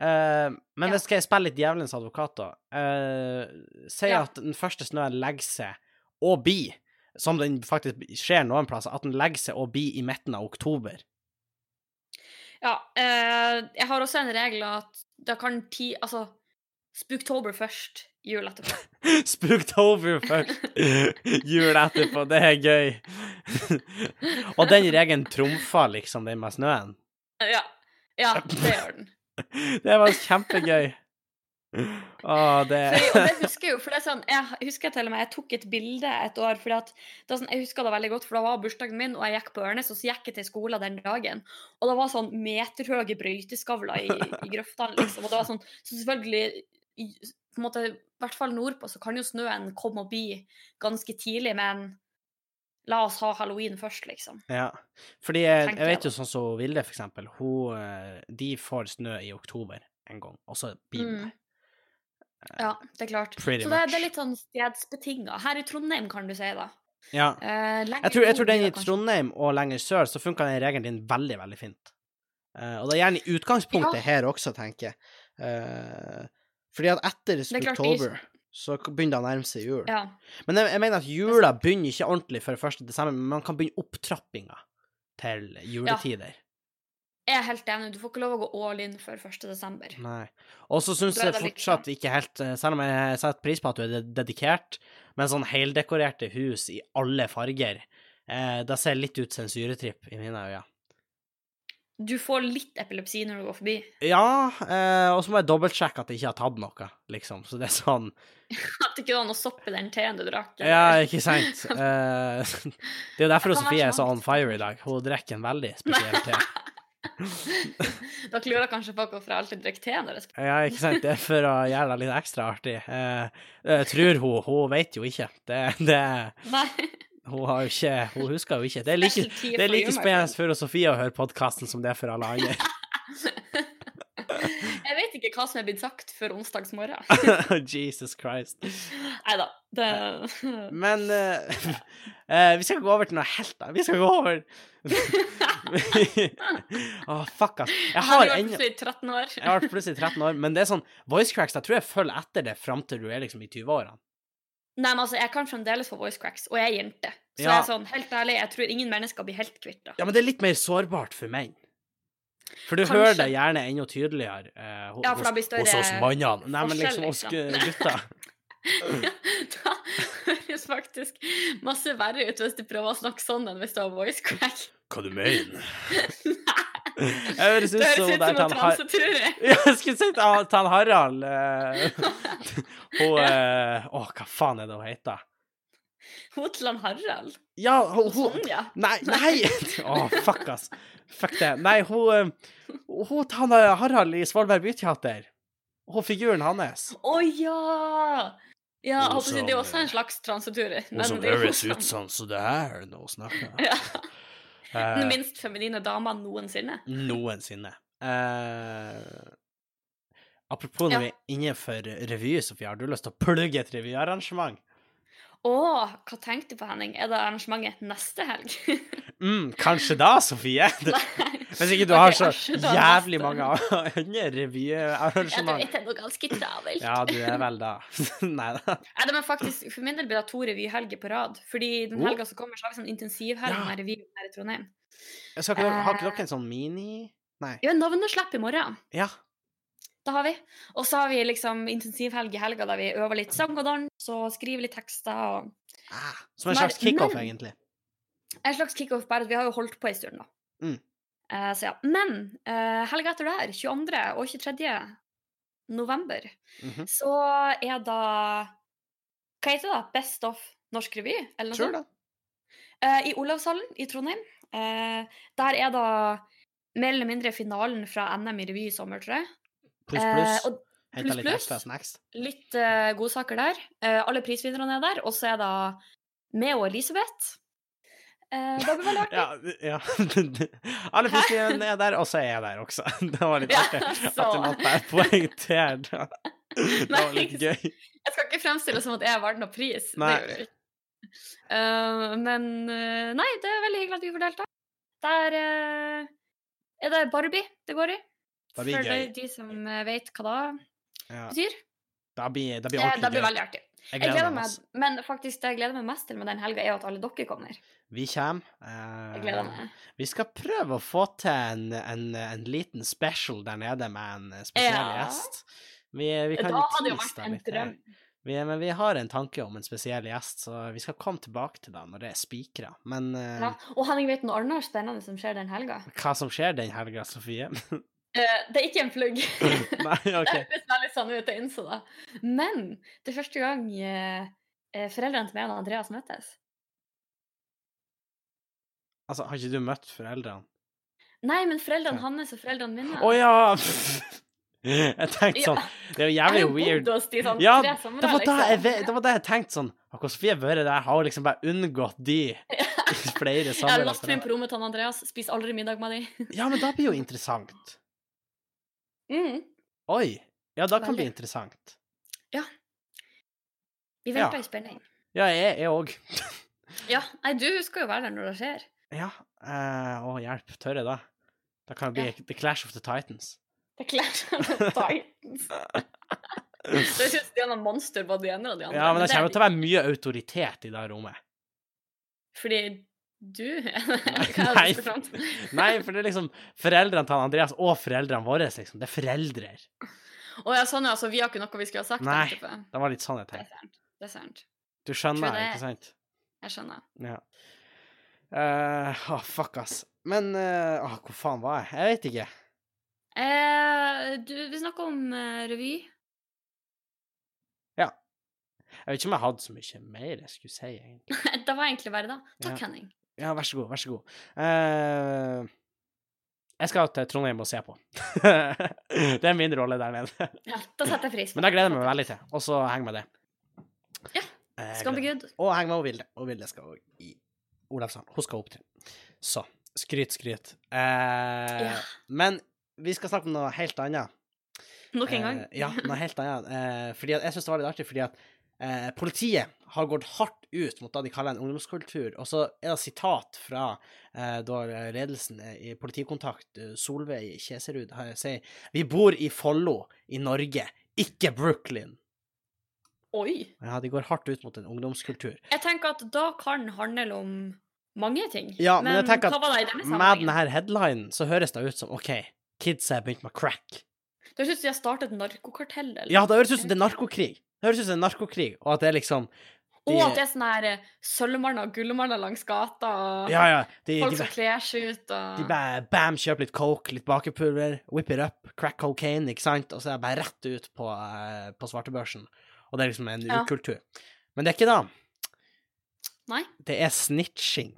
S1: Eh, men
S2: Ja.
S1: hvis jeg spiller litt djevelens advokat, da eh, Si
S2: Ja.
S1: at den første snøen legger seg, og blir, som den faktisk skjer noen plasser, at den legger seg og blir i midten av oktober. [LAUGHS]
S2: Ja, eh, jeg har også en regel at da kan ti Altså, Spooktober først, jul etterpå.
S1: Spooktober først, [LAUGHS] jul etterpå, det er gøy. [LAUGHS] og den regelen trumfer liksom den med snøen.
S2: Ja, ja det gjør den.
S1: Det var kjempegøy. Å, det
S2: Fordi, og det
S1: Eh. [LAUGHS]
S2: husker jeg jo, for det er sånn, jeg husker til og med jeg tok et bilde et år. Fordi at, det er sånn, jeg husker det veldig godt, for da var bursdagen min, og jeg gikk på Ørnes, og så gikk jeg til skolen den dagen. Og det var sånn meterhøye brøyteskavler i, i grøftene, liksom. Og det var sånn, så selvfølgelig i- på en måte, I hvert fall nordpå så kan jo snøen komme og bli ganske tidlig, men la oss ha halloween først, liksom.
S1: Ja. Fordi jeg, jeg
S2: Tenker jeg
S1: vet jo sånn som Vilde, for eksempel. Hun eh, De får snø i oktober en gang, og så blir det
S2: Mm. Ja, det er klart.
S1: Pretty
S2: så det,
S1: much.
S2: det er litt sånn stedsbetinga. Her i Trondheim, kan du si, da.
S1: Ja.
S2: Eh, lenger
S1: Jeg tror, jeg
S2: nord
S1: tror den
S2: blir
S1: i
S2: det kanskje-
S1: Trondheim og lenger sør, så funka den regelen din veldig, veldig fint. Eh, og det er gjerne i utgangspunktet
S2: Ja.
S1: her også, tenker jeg. Eh, fordi at etter
S2: er klart de-
S1: oktober så begynner det å nærme seg jul.
S2: Ja.
S1: Men jeg, jeg mener at jula begynner ikke ordentlig før 1. desember, men man kan begynne opptrappinga til juletider.
S2: Jeg er helt enig. Du får ikke lov å gå all in før 1. desember.
S1: Nei. Og så syns
S2: Da er
S1: jeg
S2: det litt
S1: fortsatt ikke helt eh, Selv om jeg setter pris på at du er de- dedikert, men sånn heldekorerte hus i alle farger, eh, det ser litt ut som en syretripp i mine øyne.
S2: Du får litt epilepsi når du går forbi. [LAUGHS]
S1: Ja, eh, og så må jeg dobbeltsjekke at jeg ikke har tatt noe, liksom. Så det er sånn
S2: At det ikke var noe sopp i den teen du drakk.
S1: Ja,
S2: eller-
S1: ikke
S2: [LAUGHS]
S1: sant? Eh, [LAUGHS] det er jo derfor
S2: Det kan
S1: Sofie
S2: være
S1: er så
S2: smak.
S1: on fire i dag. Hun drikker en veldig spesiell te.
S2: Dere lurer kanskje på hvorfor jeg alltid drikker te når jeg spiser.
S1: Ja, ikke sant? Det er for å gjøre det litt ekstra artig. Eh, eh, tror hun. Hun vet jo ikke. Det, det,
S2: [LAUGHS] Nei.
S1: hun, har jo ikke hun husker jo ikke. Det er like,
S2: special
S1: det
S2: tea for
S1: er like
S2: you, my
S1: spennende for Sofie å høre podkasten som det er for alle andre. [LAUGHS]
S2: friend. Jeg vet ikke hva som er blitt sagt før onsdags morgen.
S1: Ah. Oh, Jesus Christ.
S2: Nei da. [LAUGHS] Det...
S1: Men eh, [LAUGHS] eh, vi skal gå over til noe helt annet. Vi skal gå over [LAUGHS] Å, fuck, ass. Jeg
S2: har
S1: har
S2: vært
S1: ennå
S2: plutselig 13 år.
S1: Jeg har vært plutselig 13 år, men det er sånn voice cracks, jeg tror jeg følger etter det fram til du er liksom i 20-årene.
S2: Nei, men altså, Jeg kan fremdeles få voice cracks, og jeg er jente. Så
S1: Ja.
S2: jeg er sånn, helt ærlig, jeg tror ingen mennesker blir helt kvitt det. [LAUGHS]
S1: Ja, men det er litt mer sårbart for menn. For du
S2: Kanskje.
S1: hører det gjerne enda tydeligere eh, ho-
S2: Ja, for da blir
S1: hos- hos
S2: større
S1: oss mannene. Nei, men
S2: forskjell,
S1: liksom hos
S2: liksom.
S1: gu- gutta.
S2: [LAUGHS] Da høres faktisk masse verre ut hvis du prøver å snakke sånn enn hvis du har voice crack.
S1: Hva du mener? [LAUGHS] Jeg høres ut
S2: Det
S1: som
S2: høres
S1: det
S2: ut
S1: er til
S2: som en
S1: han Har-
S2: transetrure.
S1: Ja, jeg skulle si til han- til han Harald eh, Hun eh, Å, hva faen er det hun heter?
S2: Hotland Harald. Sånn,
S1: Ja, hun, hun
S2: Sonja.
S1: Nei, nei! Å, fuck, ass. Fuck det. Nei, hun eh, Hun til han eh, Harald i Svolvær byteater. Hun figuren hans.
S2: Å ja! Ja,
S1: Hun
S2: altså, det er
S1: som,
S2: også en slags transetrure. men
S1: Hun som
S2: det er jo
S1: høres
S2: som
S1: ut sånn som det her når hun snakker.
S2: Ja.
S1: Eh,
S2: Den minst feminine dama noensinne.
S1: noensinne. Eh, apropos når
S2: Ja.
S1: vi er innenfor revy, Sofie, har du lyst til å plugge et revyarrangement?
S2: Å, hva tenkte du på, Henning? Er det arrangementet neste
S1: [LAUGHS]
S2: helg?
S1: Mm, kanskje da, Sofie?
S2: [LAUGHS] Nei.
S1: Hvis ikke du
S2: Ok,
S1: har så
S2: kanskje da
S1: jævlig
S2: neste.
S1: mange [LAUGHS] andre
S2: Jeg tror
S1: revyarrangement.
S2: jeg er noe ganske travelt.
S1: Ja, du er vel da. [LAUGHS] Nei da.
S2: Nei, det, men faktisk, For min del blir det to revyhelger på rad. Fordi den
S1: Oh.
S2: helga som kommer, så har vi sånn intensivhelg
S1: Ja.
S2: med revy her i Trondheim.
S1: Skal ikke dere, har ikke dere en sånn mini Nei.
S2: Vi har navneslipp i morgen.
S1: Ja.
S2: Det har vi. Og så har vi liksom intensivhelg i helga der vi øver litt sang og dans og skriver litt tekster. og
S1: Ah, som en
S2: Nei,
S1: slags kickoff,
S2: men-
S1: egentlig.
S2: En slags kickoff, bare at vi har jo holdt på en stund, da.
S1: Mm.
S2: Eh, så ja. Men eh, helga etter der, 22. og 23. november,
S1: Mhm.
S2: så er da Hva heter det? da? Best of norsk revy? Eller noe
S1: Sure,
S2: sånt?
S1: da.
S2: Eh, I Olavshallen i Trondheim. Eh, der er da mer eller mindre finalen fra NM i revy i sommer, tror jeg.
S1: Pluss,
S2: Eh,
S1: pluss.
S2: og
S1: Henta
S2: Pluss,
S1: litt
S2: pluss.
S1: ekstra snacks.
S2: Litt eh, godsaker der. Eh, alle prisvinnerne er der. Og så er da Meo og Elisabeth. Eh, det blir
S1: [LAUGHS]
S2: veldig artig.
S1: Ja, ja. Alle fiskene er der, og så er jeg der også. [LAUGHS] Det var litt
S2: Ja,
S1: artig at
S2: [LAUGHS] så.
S1: du måtte være
S2: [LAUGHS]
S1: poengtert. Det var litt
S2: ikke
S1: gøy.
S2: Jeg skal ikke fremstille det som at jeg vant noen pris.
S1: Nei.
S2: Det gjorde jeg ikke. Eh, men eh, nei, det er veldig hyggelig at vi får delta. Der eh, er det Barbie det går i.
S1: Det blir
S2: For
S1: gøy.
S2: de som eh, vet hva det
S1: Ja,
S2: betyr.
S1: det blir, det blir
S2: Eh, det
S1: ordentlig
S2: blir
S1: gøy.
S2: veldig artig.
S1: Jeg
S2: Jeg
S1: gleder
S2: gleder
S1: meg. altså.
S2: meg,
S1: ass.
S2: men faktisk det jeg gleder meg mest til med den helga, er at alle dere kommer.
S1: Vi kommer.
S2: Jeg
S1: Eh,
S2: gleder meg.
S1: vi skal prøve å få til en, en, en liten special der nede med en spesiell
S2: Ja.
S1: gjest. Vi, vi kan
S2: Da hadde
S1: jo
S2: jo
S1: tease
S2: vært
S1: deg
S2: en
S1: litt. her.
S2: drøm.
S1: Vi, men vi har en tanke om en spesiell gjest, så vi skal komme tilbake til det når det er spikra. Men eh,
S2: Ja. Og Henning vet noe annet spennende som skjer den helga.
S1: hva som skjer den helga, Sofie? [LAUGHS]
S2: Eh, det er ikke en flugg. [LAUGHS]
S1: Nei, OK.
S2: Det høres veldig sånn ut, jeg innså det. Men det er første gang eh, eh, foreldrene til meg og Andreas møtes.
S1: Altså, har ikke du møtt foreldrene?
S2: Nei, men foreldrene
S1: Ja.
S2: hans og foreldrene mine
S1: Å ja! [LAUGHS] Jeg tenkte sånn Det er jo
S2: Jeg har
S1: jævlig
S2: jo
S1: weird.
S2: bodd hos de sånn
S1: Ja,
S2: tre somre,
S1: Det var da jeg,
S2: liksom.
S1: ve- det var da jeg tenkte sånn Har ikke Sofie vært der? Har hun liksom bare unngått de i [LAUGHS] flere
S2: Jeg har
S1: sammenhenger?
S2: lagt meg inn på rommet til han Andreas, spiser aldri middag med de.
S1: Ja, men da blir jo interessant.
S2: Mm.
S1: Oi. Ja, da kan det bli
S2: Veldig.
S1: interessant.
S2: Vi
S1: Ja.
S2: venter i spenning.
S1: Ja, jeg òg.
S2: Ja, nei, du skal jo være der når det skjer.
S1: Ja. eh, å, hjelp. Tør jeg da? Da kan det bli The Clash of the Titans. [LAUGHS]
S2: Det kler seg [LAUGHS] med Titans. Det er ikke Stian og Monster var de ene og de andre.
S1: Ja, men det
S2: er
S1: kommer
S2: de-
S1: til å være mye autoritet i det rommet.
S2: Fordi du Eller hva er [LAUGHS]
S1: Nei,
S2: det du skal fram til?
S1: nei, for det er liksom foreldrene til han Andreas og foreldrene våre, liksom. Det er foreldre.
S2: Å ja, sånn ja, så vi har ikke noe vi skulle ha sagt?
S1: Nei.
S2: tenkte jeg på.
S1: Det var litt sånn jeg
S2: Det er
S1: tenkte.
S2: sant. Det er sant.
S1: Du skjønner,
S2: Tror det-
S1: ikke sant?
S2: Jeg skjønner.
S1: Ja. Eh, ah, fuck, ass. Men eh, ah, hvor faen var jeg? Jeg vet ikke.
S2: Eh, du, vi snakker om eh, revy. [LAUGHS]
S1: Jeg vet ikke om jeg hadde så mye mer jeg skulle si, egentlig.
S2: Det var egentlig bare det. Takk,
S1: Ja.
S2: Henning.
S1: Ja, vær så god, vær så god. Eh, jeg skal til Trondheim og se på. [LAUGHS] det er min rolle der nede.
S2: Ja, da setter jeg pris på
S1: Men det gleder jeg meg veldig til. Og så henger med det.
S2: Ja.
S1: Eh, jeg
S2: Skal
S1: gleder
S2: bli good.
S1: Og heng med Vilde. Og Vilde skal også i Olavshallen. Hun skal opptre. Så skryt, skryt. Eh,
S2: Ja.
S1: Men vi skal snakke om noe helt annet.
S2: Nok en gang.
S1: Eh, ja, noe helt annet. Eh, fordi at, jeg syns det var litt artig fordi at eh, politiet har gått hardt ut mot det de kaller en ungdomskultur. Og så er det sitat fra eh, da ledelsen i politikontakt eh, Solveig Kjeserud har- sier Vi bor i Follo i Norge, ikke Brooklyn.
S2: Oi.
S1: Ja, de går hardt ut mot en ungdomskultur.
S2: Jeg tenker at da kan handle om mange ting.
S1: Ja, men jeg tenker
S2: hva
S1: at
S2: var det i denne
S1: Med
S2: sammenhengen?
S1: denne headlinen så høres det ut som OK, kids har begynt med crack.
S2: Det høres ut som de har startet narkokartell. eller
S1: Ja, det høres ut som det er narkokrig. Det høres ut som det er narkokrig, og at det er liksom de,
S2: Og at det er sånn her eh, sølvmanner og gullmanner langs gata, og
S1: Ja, ja. De,
S2: folk
S1: de,
S2: som kler seg ut og [GASPS]
S1: de bare bam, kjøper litt coke, litt bakepulver, whip it up, crack cocaine, ikke sant, og så er det bare rett ut på, eh, på svartebørsen. Og det er liksom en
S2: Ja.
S1: ukultur. Men det er ikke det.
S2: Nei.
S1: Det er snitching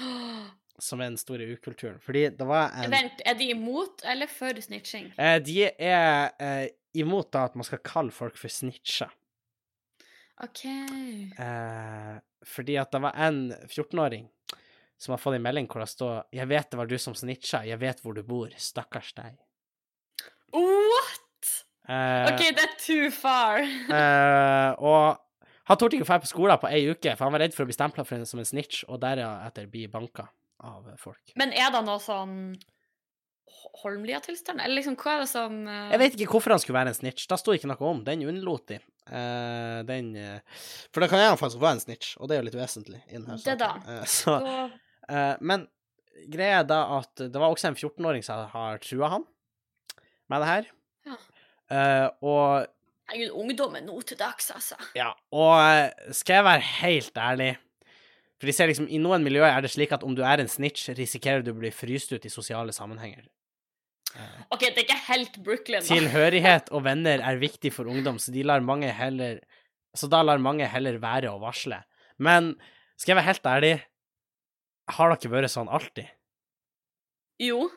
S2: Åh,
S1: som er den store ukulturen. Fordi det var en
S2: Vent, er de imot eller for snitching?
S1: eh, De er eh, imot da at man skal kalle folk for snitcher.
S2: OK.
S1: Eh, fordi at det var en 14-åring som har fått en melding hvor det står 'Jeg vet det var du som snitcha, jeg vet hvor du bor, stakkars deg'.
S2: What?
S1: Eh,
S2: OK, det er too far.
S1: eh, og han torde ikke å dra på skolen på ei uke, for han var redd for å bli stempla som en snitch, og deretter bli banka av folk.
S2: Men er det noe sånn Ho- Holmlia-tilstand? Eller liksom, hva er det som eh,
S1: Jeg vet ikke hvorfor han skulle være en snitch, da sto ikke noe om, den unnlot de. Eh, den eh, For da kan jeg faktisk være en snitch, og det er jo litt vesentlig. i denne
S2: Det da.
S1: saken. Eh, så,
S2: da-
S1: Eh, men greia er da at det var også en 14-åring som har trua han med det her.
S2: Ja.
S1: Eh, og
S2: Herregud, ungdommen nå til dags, altså.
S1: ja, og eh, skal jeg være helt ærlig For de ser liksom, i noen miljøer er det slik at om du er en snitch, risikerer du å bli fryst ut i sosiale sammenhenger.
S2: OK, det er ikke helt Brooklyn, da.
S1: Tilhørighet og venner er viktig for ungdom, så de lar mange heller Så da lar mange heller være å varsle. Men skal jeg være helt ærlig, har det ikke vært sånn alltid?
S2: Jo.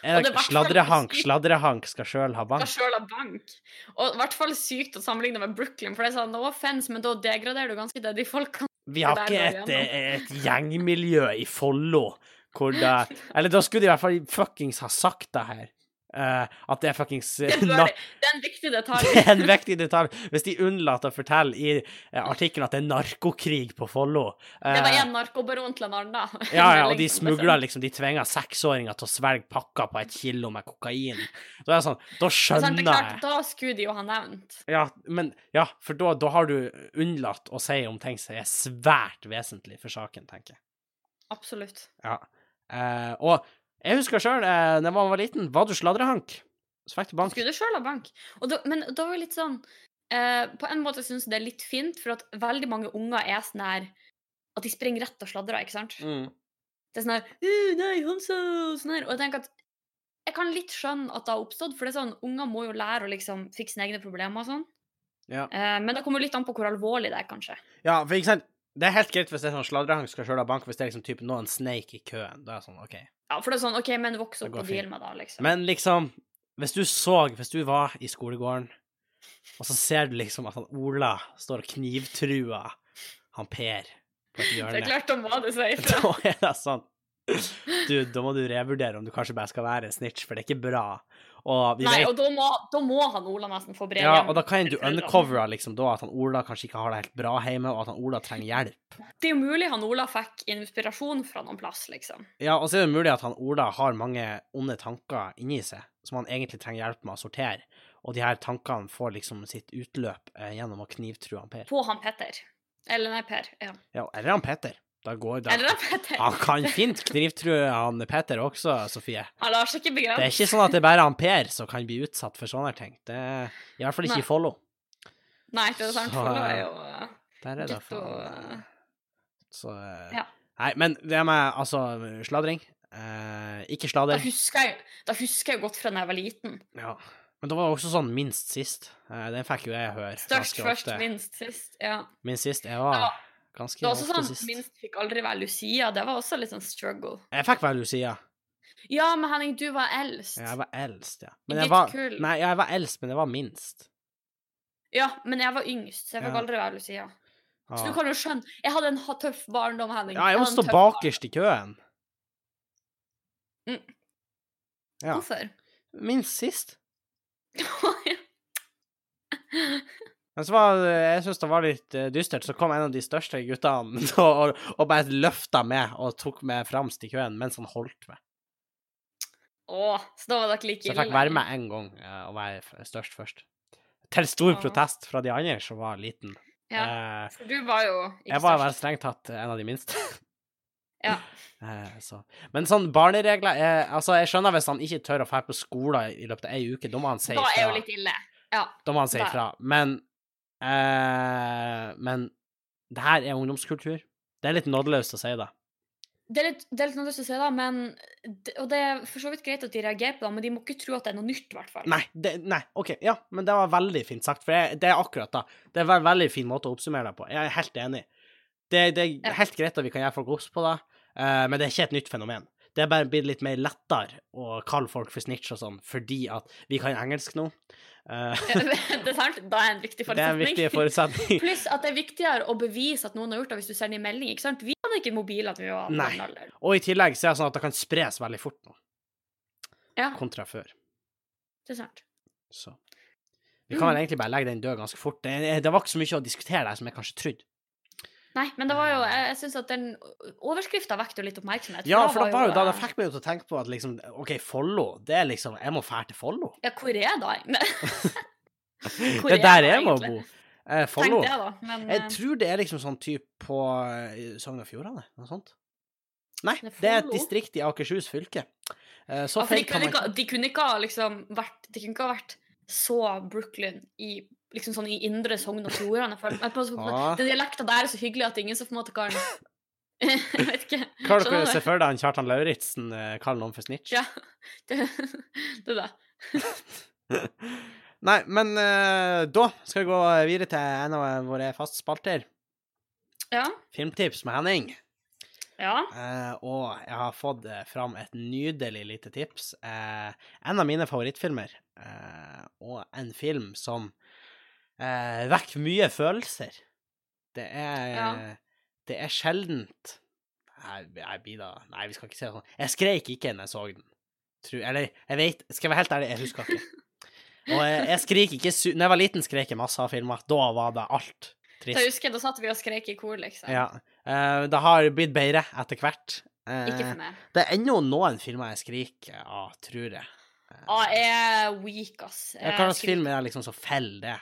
S1: Er det,
S2: Og det er hvertfall
S1: sladrehank.
S2: sykt.
S1: Sladrehank skal sjøl ha
S2: Skal
S1: bank.
S2: sjøl ha bank. Og i hvert fall sykt å sammenligne med Brooklyn, for det er sånn, no offense, men da degraderer du ganske det de folkene
S1: Vi har
S2: der
S1: ikke
S2: går
S1: et,
S2: jeg
S1: eh, et gjengmiljø i Follo hvor det Eller da skulle de i hvert fall fuckings ha sagt det her. eh, at det er
S2: [LAUGHS]
S1: fuckings eh,
S2: [LAUGHS] Det bør
S1: na-
S2: de- det er en viktig
S1: Det er [LAUGHS] en
S2: detalj.
S1: viktig detalj. Hvis de unnlater å fortelle i eh, artikkelen at det er narkokrig på Follo eh,
S2: Det var én narkobaron til en annen.
S1: Ja, ja, og de
S2: Liksom, det er
S1: smugla liksom De tvinga seksåringer til å svelge pakker på et kilo med kokain. Så det er sånn, da
S2: sånn- sant, det er
S1: skjønner
S2: klart,
S1: jeg.
S2: Da skulle de jo ha nevnt.
S1: Ja, men, ja, for da, da har du unnlatt å si om ting som er svært vesentlig for saken, tenker jeg.
S2: Absolutt.
S1: Ja. Eh, og jeg husker sjøl, eh, da man var liten, var du sladrehank? Så fikk du bank.
S2: Skulle du sjøl ha bank? Og da, men da var det litt sånn eh, På en måte syns jeg det er litt fint, for at veldig mange unger er sånn her At de springer rett og sladrer, ikke sant?
S1: Mm.
S2: Det er sånn her «Øh, Nei, Hansa! Sånn her. Og jeg tenker at jeg kan litt skjønne at det har oppstått, for det er sånn, unger må jo lære å liksom fikse sine egne problemer og sånn.
S1: Ja.
S2: Eh, men det kommer jo litt an på hvor alvorlig det er, kanskje.
S1: ja, for ikke sant, det er helt greit hvis det er sånn sladrehank skal sjøl ha bank, hvis det er liksom typen nå er en sneik i køen. Da er det sånn, OK.
S2: Ja, For det er sånn, OK, men voks
S1: Det
S2: opp
S1: går
S2: og
S1: fint.
S2: deal med det, liksom.
S1: Men liksom, hvis du så, hvis du var i skolegården, og så ser du liksom at han Ola står og knivtrua han Per på et
S2: det er
S1: hjørne,
S2: klart, da må du si ifra.
S1: [LAUGHS] da er det sånn Du, da må du revurdere om du kanskje bare skal være en snitch, for det er ikke bra. Og vi
S2: Nei,
S1: vet
S2: og da må, da må han Ola nesten få brev
S1: ja,
S2: hjem
S1: og da kan du
S2: til foreldrene.
S1: uncovere liksom da at han Ola kanskje ikke har det helt bra hjemme, og at han Ola trenger hjelp.
S2: Det er jo mulig han Ola fikk inspirasjon fra noen plass, liksom.
S1: Ja, og så er det mulig at han Ola har mange onde tanker inni seg, som han egentlig trenger hjelp med å sortere, og de her tankene får liksom sitt utløp eh, gjennom å knivtrue han Per.
S2: På han Petter. Eller nei, Per. Ja.
S1: Ja, eller han Peter. Da går det.
S2: Eller han Petter.
S1: Han kan fint knivtrue han Peter også, Sofie.
S2: Han lar seg ikke
S1: Det
S2: begrense.
S1: er ikke sånn at det er bare han Per som kan bli utsatt for sånne ting. Det er i hvert fall ikke i
S2: Nei.
S1: Follo.
S2: Nei, det er sant.
S1: Så,
S2: For det er
S1: eh,
S2: jo eh,
S1: Der er det
S2: Gutt og-
S1: faen eh, Så eh,
S2: Ja.
S1: Nei, men det med altså sladring eh, Ikke
S2: da
S1: sladder.
S2: husker, jeg, da husker jeg godt fra da jeg var liten.
S1: Ja. Men det var også sånn minst sist. Eh, Den fikk jo jeg høre
S2: Størst
S1: ganske
S2: først,
S1: ofte.
S2: minst sist. Ja.
S1: Minst sist. Jeg
S2: Det
S1: var
S2: var, det
S1: ganske
S2: var også
S1: ofte
S2: sånn
S1: sist.
S2: minst fikk aldri være Lucia. Det var også litt sånn struggle.
S1: Jeg fikk være Lucia.
S2: Ja, men Henning, du var eldst.
S1: Jeg var eldst, ja.
S2: I
S1: Men jeg
S2: ditt
S1: var,
S2: kull.
S1: nei, jeg var eldst, men jeg var minst.
S2: Ja, men jeg var yngst, så jeg fikk
S1: Ja.
S2: aldri være Lucia. Så du
S1: Ja,
S2: kan jo skjønne. Jeg hadde en ha- tøff barndom, Henning.
S1: ja jeg må
S2: hadde en
S1: stå
S2: tøff
S1: bakerst i køen.
S2: Mm.
S1: Ja.
S2: barndom. Hvorfor? [LAUGHS]
S1: Minst sist.
S2: Ja.
S1: Men så var, jeg syns det var litt eh, dystert, så kom en av de største guttene [LAUGHS] og, og bare løfta meg og tok meg fremst i køen mens han holdt meg.
S2: Å, så da var dere like
S1: Så jeg fikk være med én gang eh, og være f- størst først. Til stor
S2: Ja.
S1: protest fra de andre som var liten.
S2: Ja.
S1: Eh,
S2: For du var jo ikke
S1: jeg var
S2: størst.
S1: vel strengt tatt en av de minste. [LAUGHS]
S2: Ja.
S1: Eh, så. Men sånn barneregler eh, Altså, jeg skjønner hvis han ikke tør å dra på skolen i løpet av ei uke, da må han si
S2: Da er jo
S1: ifra.
S2: litt ille.
S1: Da må han si
S2: Da-
S1: ifra. Men eh, Men det her er ungdomskultur. Det er litt nådeløst å si det.
S2: Det er litt, det er litt noe å si, da, men det- Og det er for så vidt greit at de reagerer på det, men de må ikke tro at det er noe nytt, i hvert fall.
S1: Nei, det, nei, OK, ja, men det var veldig fint sagt, for jeg, det er akkurat det. Det er en veldig fin måte å oppsummere det på. Jeg er helt enig. Det, det
S2: Ja.
S1: er helt greit at vi kan gjøre folk obs på det, eh, men det er ikke et nytt fenomen. Det er bare blitt litt mer lettere å kalle folk for snitch og sånn, fordi at vi kan engelsk nå. Eh,
S2: [LAUGHS]
S1: [LAUGHS]
S2: det er sant? Da er en viktig
S1: det er en
S2: forutsetning.
S1: viktig
S2: [LAUGHS]
S1: forutsetning.
S2: Pluss at det er viktigere å bevise at noen har gjort det, hvis du sender en melding. ikke sant? Vi hadde ikke mobil at vi var på
S1: Nei.
S2: den alderen.
S1: Og i tillegg så er det sånn at det kan spres veldig fort nå,
S2: Ja,
S1: kontra før.
S2: det er sant.
S1: Så vi kan
S2: Mm.
S1: vel egentlig bare legge den død ganske fort. Det, det var ikke så mye å diskutere der som jeg kanskje trodde.
S2: Nei, men det var jo Jeg, jeg syns at den overskrifta vekket jo litt oppmerksomhet.
S1: Ja, for det var jo da det
S2: eh,
S1: fikk meg jo til å tenke på at liksom, OK, Follo, det er liksom Jeg må fære til Follo.
S2: Ja, hvor er det? [LAUGHS] Hvor
S1: Det
S2: er
S1: er der
S2: det
S1: jeg må bo.
S2: egentlig?
S1: Eh,
S2: Tenk
S1: Follo.
S2: det, da. Men eh,
S1: Jeg tror det er liksom sånn type på eh, Sogn og Fjordane, noe sånt. Nei,
S2: Det er
S1: det er et
S2: Follo.
S1: distrikt i Akershus fylke. Eh,
S2: ja,
S1: Så
S2: for de
S1: feil kan
S2: kunne,
S1: man
S2: ikke, de kunne ikke ha liksom vært De kunne ikke ha vært så Brooklyn i liksom sånn i indre Sogn og Fjordane. for- men på en måte- [LAUGHS]
S1: Ah.
S2: Den dialekta der er så hyggelig at ingen så på en måte kan [LAUGHS] Jeg vet ikke.
S1: Klarer dere
S2: Skjønner
S1: å
S2: du?
S1: se for deg han Kjartan Lauritzen eh, kaller noen for snitch?
S2: Ja. Det, det da.
S1: Nei, men eh, da skal vi gå videre til en av våre faste spalter.
S2: Ja.
S1: Filmtips med Henning.
S2: Ja.
S1: Eh, og jeg har fått eh, fram et nydelig lite tips. Eh, en av mine favorittfilmer, eh, og en film som eh, vekker mye følelser. Det er,
S2: Ja.
S1: det er sjeldent jeg, jeg blir da Nei, vi skal ikke si det sånn. Jeg skreik ikke når jeg så den. Tror, eller, jeg vet Skal jeg være helt ærlig, jeg husker
S2: [LAUGHS]
S1: ikke. Og jeg, jeg skrik ikke su... Når jeg var liten, skrek jeg masse av filmer. Da var det alt
S2: Da
S1: trist.
S2: husker jeg, da satt vi og skrek i kor, liksom.
S1: Ja. Eh, det har blitt bedre etter hvert. Eh,
S2: Ikke for meg.
S1: det er ennå noen filmer jeg skriker av, tror jeg. Eh,
S2: Ja, Ah, jeg er weak, ass.
S1: Hva slags
S2: skriker
S1: film er det liksom som feller det?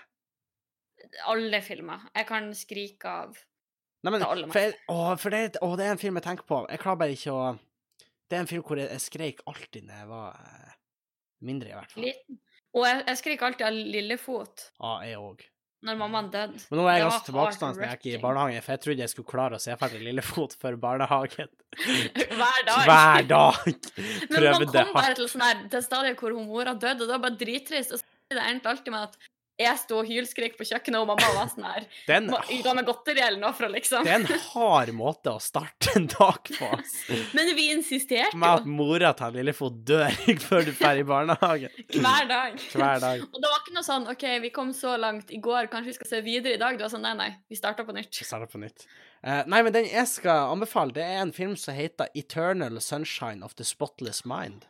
S2: Alle filmer. Jeg kan skrike av
S1: Nei, men,
S2: Det aller
S1: for, jeg, å, for det, å, det er en film jeg tenker på. Jeg klarer bare ikke å Det er en film hvor jeg, jeg skreik alltid når jeg var eh, mindre, i hvert fall.
S2: liten. Og jeg, jeg skriker alltid av Lillefot
S1: Ja, jeg òg.
S2: når mammaen døde. [LAUGHS]
S1: Men nå er jeg
S2: Det var
S1: ganske tilbakestående når jeg gikk i
S2: heartbreaking.
S1: barnehagen, for jeg trodde jeg skulle klare å se ferdig Lillefot før
S2: [LAUGHS]
S1: barnehagen.
S2: Hver dag.
S1: Hver dag!
S2: [LAUGHS] Men man
S1: Prøvde
S2: kom bare
S1: hardt.
S2: til sånn her, til stadiet hvor hun mora døde, og det var bare drittrist. Og så det endte alltid med at jeg sto og hylskrek på kjøkkenet, og mamma var sånn
S1: [LAUGHS]
S2: her
S1: Det er en-
S2: «Må- Ga meg godteri eller noe fra, liksom.
S1: det er en hard måte å starte en dag
S2: [LAUGHS]
S1: på. ass.
S2: Men vi insisterte
S1: med at
S2: jo
S1: mora til Lillefot dør [LAUGHS] før du drar i barnehagen.
S2: hver
S1: [LAUGHS]
S2: dag.
S1: Hver dag.
S2: Og det var ikke noe sånn OK, vi kom så langt i går, kanskje vi skal se videre i dag? Det var sånn, nei, nei, vi starta på nytt.
S1: Vi starter på nytt. Eh, nei, men den jeg skal anbefale, det er en film som heter Eternal Sunshine of the Spotless Mind.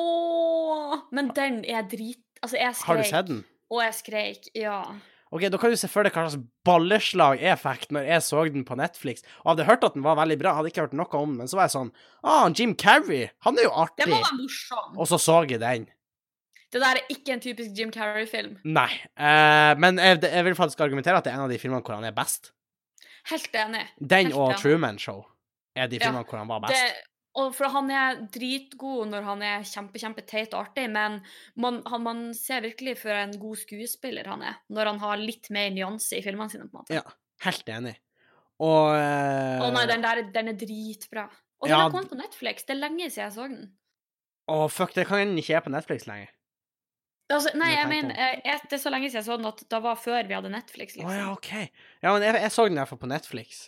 S2: Åh, men den er drit... Altså, jeg skrek.
S1: Har du sett den?
S2: Og jeg skreik, ja.
S1: Ok, Da kan du se for deg hva slags balleslag jeg fikk når jeg så den på Netflix. Og hadde hørt at den var veldig bra, hadde ikke hørt noe om den, men så var jeg sånn ah, Jim Carrey, han er jo
S2: Det
S1: artig.
S2: må være morsom.
S1: Og så så jeg den.
S2: Det der er ikke en typisk Jim Carrey-film.
S1: Nei. eh, men jeg, jeg vil faktisk argumentere at det er en av de filmene hvor han er best.
S2: Helt enig.
S1: Den
S2: Helt
S1: og
S2: enig.
S1: Truman Show er de
S2: Ja,
S1: filmene hvor han var
S2: Det,
S1: best.
S2: og for han er dritgod når han er kjempe, kjempe teit og artig, men man, han, man ser virkelig for en god skuespiller han er, når han har litt mer nyanse i filmene sine, på en måte.
S1: Ja. Helt enig. Og eh,
S2: Å nei, den der den er dritbra. Og den
S1: Ja,
S2: har kommet på Netflix. Det er lenge siden jeg så den.
S1: Å, fuck, det kan ikke jeg på Netflix lenger.
S2: Altså, nei,
S1: Det
S2: jeg
S1: tenkte jeg
S2: mener, jeg- jeg- det er så lenge siden jeg så den at det var før vi hadde Netflix.
S1: Å
S2: liksom.
S1: ja, OK. Ja, men jeg, jeg så den i hvert fall på Netflix.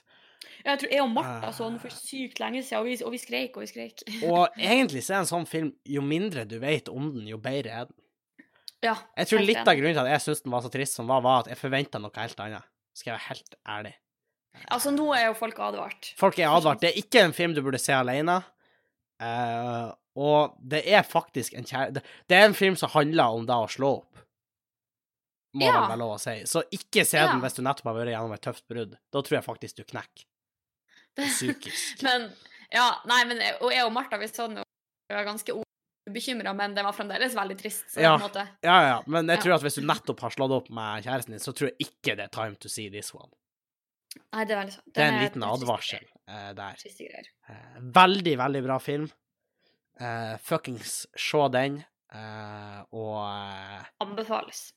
S2: Jeg tror jeg og Martha så den for
S1: Ah.
S2: sykt lenge siden, og vi, og vi skreik og vi skreik. [LAUGHS]
S1: Og egentlig så er en sånn film Jo mindre du vet om den, jo bedre er den.
S2: Ja.
S1: Jeg tror
S2: Helt
S1: litt
S2: enig.
S1: av grunnen til at jeg syntes den var så trist som var, var at jeg forventa noe helt annet. Skal jeg være helt ærlig.
S2: Altså, nå er jo folk advart.
S1: Folk er advart. Det er ikke en film du burde se alene. Eh, og det er faktisk en kjære... Det, det er en film som handler om da å slå opp. Må
S2: Ja.
S1: det være lov å si. Så ikke se
S2: Ja.
S1: den hvis du nettopp har vært gjennom et tøft brudd. Da tror jeg faktisk du knekker
S2: [LAUGHS]
S1: psykisk.
S2: men ja, nei, men jeg- og jeg og Martha vi så den jo vi var ganske ubekymra, men den var fremdeles veldig trist. Så
S1: Ja.
S2: på en måte.
S1: Ja, ja, men jeg
S2: Ja.
S1: tror at hvis du nettopp har slått opp med kjæresten din, så tror jeg ikke det er time to see this one.
S2: Nei, det er veldig sant.
S1: Det er
S2: Den
S1: en
S2: er
S1: liten
S2: triste-
S1: advarsel eh, der.
S2: Triste greier.
S1: Eh, veldig, veldig bra film. Eh, fuckings se den. eh, og eh,
S2: Anbefales.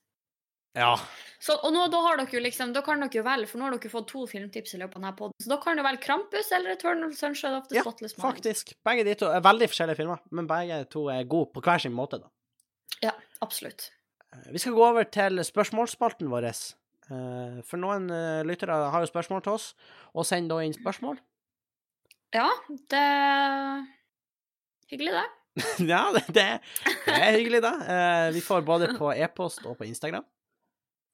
S1: ja.
S2: Så, og nå, da har dere jo liksom, da kan dere jo velge, for nå har dere fått to filmtips i løpet av denne podden, så da kan dere velge Krampus eller Eternal Sunshine of the
S1: Ja,
S2: Spotless Mind.
S1: Faktisk. Begge de to er veldig forskjellige filmer, men begge to er gode på hver sin måte, da.
S2: Ja, absolutt.
S1: Eh, Vi skal gå over til spørsmålsspalten vår. Eh, for noen eh, lyttere har jo spørsmål til oss, og send da inn spørsmål. [LAUGHS]
S2: Ja, det Hyggelig, det.
S1: ja, det, det, det er hyggelig, da. Eh, vi får både på e-post og på Instagram.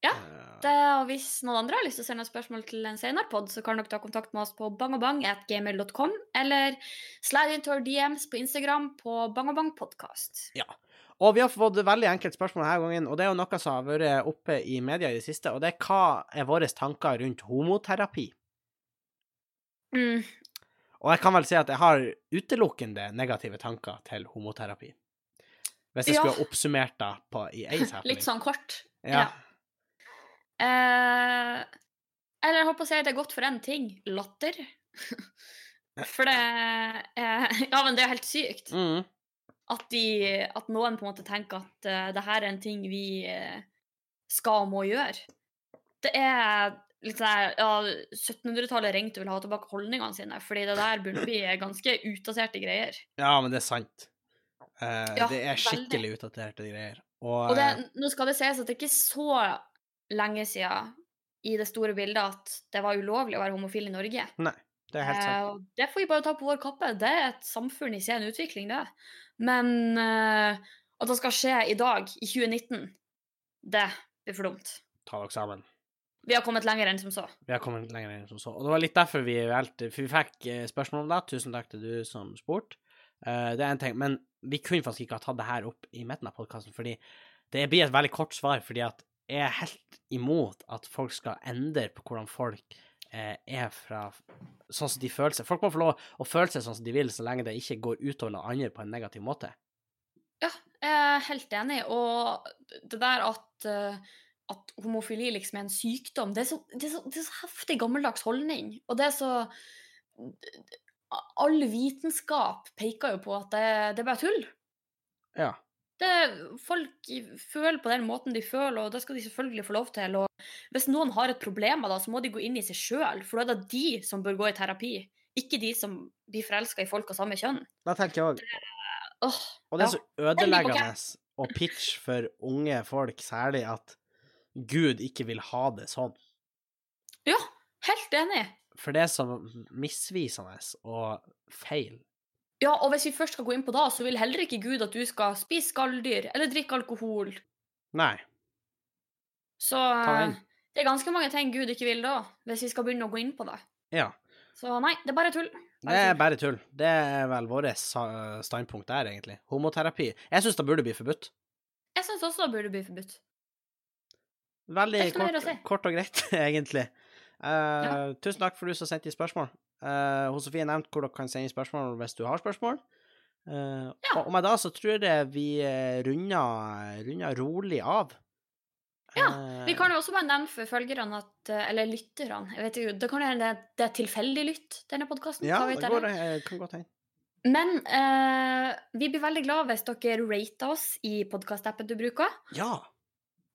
S2: Ja,
S1: Eh,
S2: det. Og hvis noen andre har lyst til å sende spørsmål til en senere pod, så kan dere ta kontakt med oss på bangobang.gmail.com, eller slide into our DMs på Instagram på bangobangpodkast.
S1: Og vi har fått veldig enkelt spørsmål denne gangen, og det er jo noe som har vært oppe i media i det siste, og det er hva er våre tanker rundt homoterapi?
S2: Mm,
S1: Og jeg kan vel si at jeg har utelukkende negative tanker til homoterapi. Hvis jeg
S2: Ja.
S1: skulle ha oppsummert det på,
S2: [LAUGHS]
S1: i én setning.
S2: litt sånn kort.
S1: Ja.
S2: Eh, eller jeg holdt på å si at det er godt for én ting. Latter. [LAUGHS] For det eh, Ja, men det er helt sykt
S1: Mm.
S2: at, de, at noen på en måte tenker at eh, det her er en ting vi eh, skal og må gjøre. Det er litt sånn her ja, 1700-tallet ringte og ville ha tilbake holdningene sine, fordi det der begynner å bli ganske utdaterte greier.
S1: ja, men det er sant. Eh,
S2: Ja,
S1: det er
S2: veldig.
S1: skikkelig utdaterte greier. Og,
S2: Og det,
S1: eh,
S2: nå skal det sies at det ikke er så lenge siden i det store bildet at det var ulovlig å være homofil i Norge.
S1: Nei. Det er helt sant.
S2: Eh, og det får vi bare ta på vår kappe. Det er et samfunn i sen utvikling, det. Men eh, at det skal skje i dag, i 2019, det blir for dumt.
S1: Ta dere sammen.
S2: Vi har kommet lenger enn som så.
S1: Vi har kommet lenger enn som så. Og det var litt derfor vi valgte For vi fikk eh, spørsmål om det. Tusen takk til du som spurte. Eh, det er en ting, men vi kunne faktisk ikke ha tatt det her opp i midten av podkasten, fordi det blir et veldig kort svar, fordi at jeg er helt imot at folk skal endre på hvordan folk eh, er fra sånn som de føler seg. Folk må få lov å føle seg sånn som de vil, så lenge det ikke går utover noen andre på en negativ måte.
S2: Jeg er helt enig. Og det der at, eh, at homofili liksom er en sykdom, det er, så, det, er så, det er så heftig gammeldags holdning. Og det er så All vitenskap peker jo på at det, det er bare tull.
S1: Ja.
S2: Det, folk i- føler på den måten de føler, og det skal de selvfølgelig få lov til. Og hvis noen har et problem, da, så må de gå inn i seg sjøl, for da er det de som bør gå i terapi. Ikke de som blir forelska i folk av samme kjønn.
S1: Da tenker jeg òg
S2: Åh,
S1: Og det er
S2: Ja.
S1: så ødeleggende å pitche for unge folk, særlig at Gud ikke vil ha det sånn.
S2: ja, helt enig!
S1: For det er så misvisende og feil.
S2: Ja, og hvis vi først skal gå inn på det, så vil heller ikke Gud at du skal spise skalldyr eller drikke alkohol.
S1: Nei.
S2: Så
S1: Ta den.
S2: eh, det er ganske mange ting Gud ikke vil da, hvis vi skal begynne å gå inn på det.
S1: Ja.
S2: Så nei, det er bare tull.
S1: Det er bare tull. Altså, Det er vel vårt sa- standpunkt der, egentlig. Homoterapi. Jeg syns det burde bli forbudt.
S2: Jeg syns også det burde bli forbudt.
S1: Veldig
S2: Det er ikke noe mer
S1: kort,
S2: å si.
S1: kort og greit, [LAUGHS] egentlig. Eh,
S2: Ja.
S1: Tusen takk for du som sendte inn spørsmål. Eh, hun Sofie nevnte hvor dere kan sende inn spørsmål hvis du har spørsmål. Eh,
S2: Ja.
S1: Og og med det så tror jeg vi eh, runder, runder rolig av. Eh,
S2: Ja, Vi kan jo også bare nevne for følgerne, at, eh, eller lytterne jeg vet jo, Det kan jo hende det- det er tilfeldig lytt, denne podkasten.
S1: Ja, det går, eh, kan godt hende.
S2: Men eh, vi blir veldig glad hvis dere rater oss i podkastappen du bruker.
S1: Ja.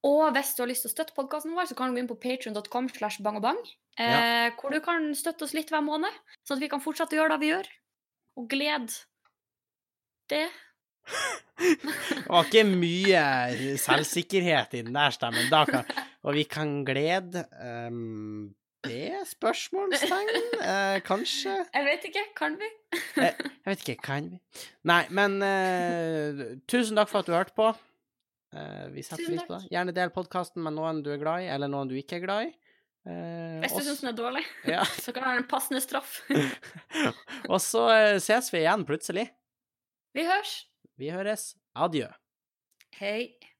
S2: Og hvis du har lyst til å støtte podkasten vår, så kan du gå inn på patreon.com slash bangobang, eh, hvor du kan støtte oss litt hver måned, sånn at vi kan fortsette å gjøre det vi gjør. Og gled det.
S1: Det var ikke mye selvsikkerhet i den der stemmen. Da kan, og vi kan glede ehm, det? Spørsmålstegn? Eh, kanskje?
S2: Jeg vet ikke, kan vi?
S1: Jeg vet ikke. Kan vi? Nei, men eh, tusen takk for at du hørte på. Eh, vi setter
S2: Tusen
S1: pris på det. Gjerne del podkasten med noen du er glad i, eller noen du ikke er glad i. Eh,
S2: Hvis du
S1: og-
S2: syns den er dårlig,
S1: ja.
S2: [LAUGHS] så kan det være en passende straff.
S1: Og så eh, ses vi igjen plutselig.
S2: Vi høres.
S1: Vi høres. Adjø.
S2: Hei.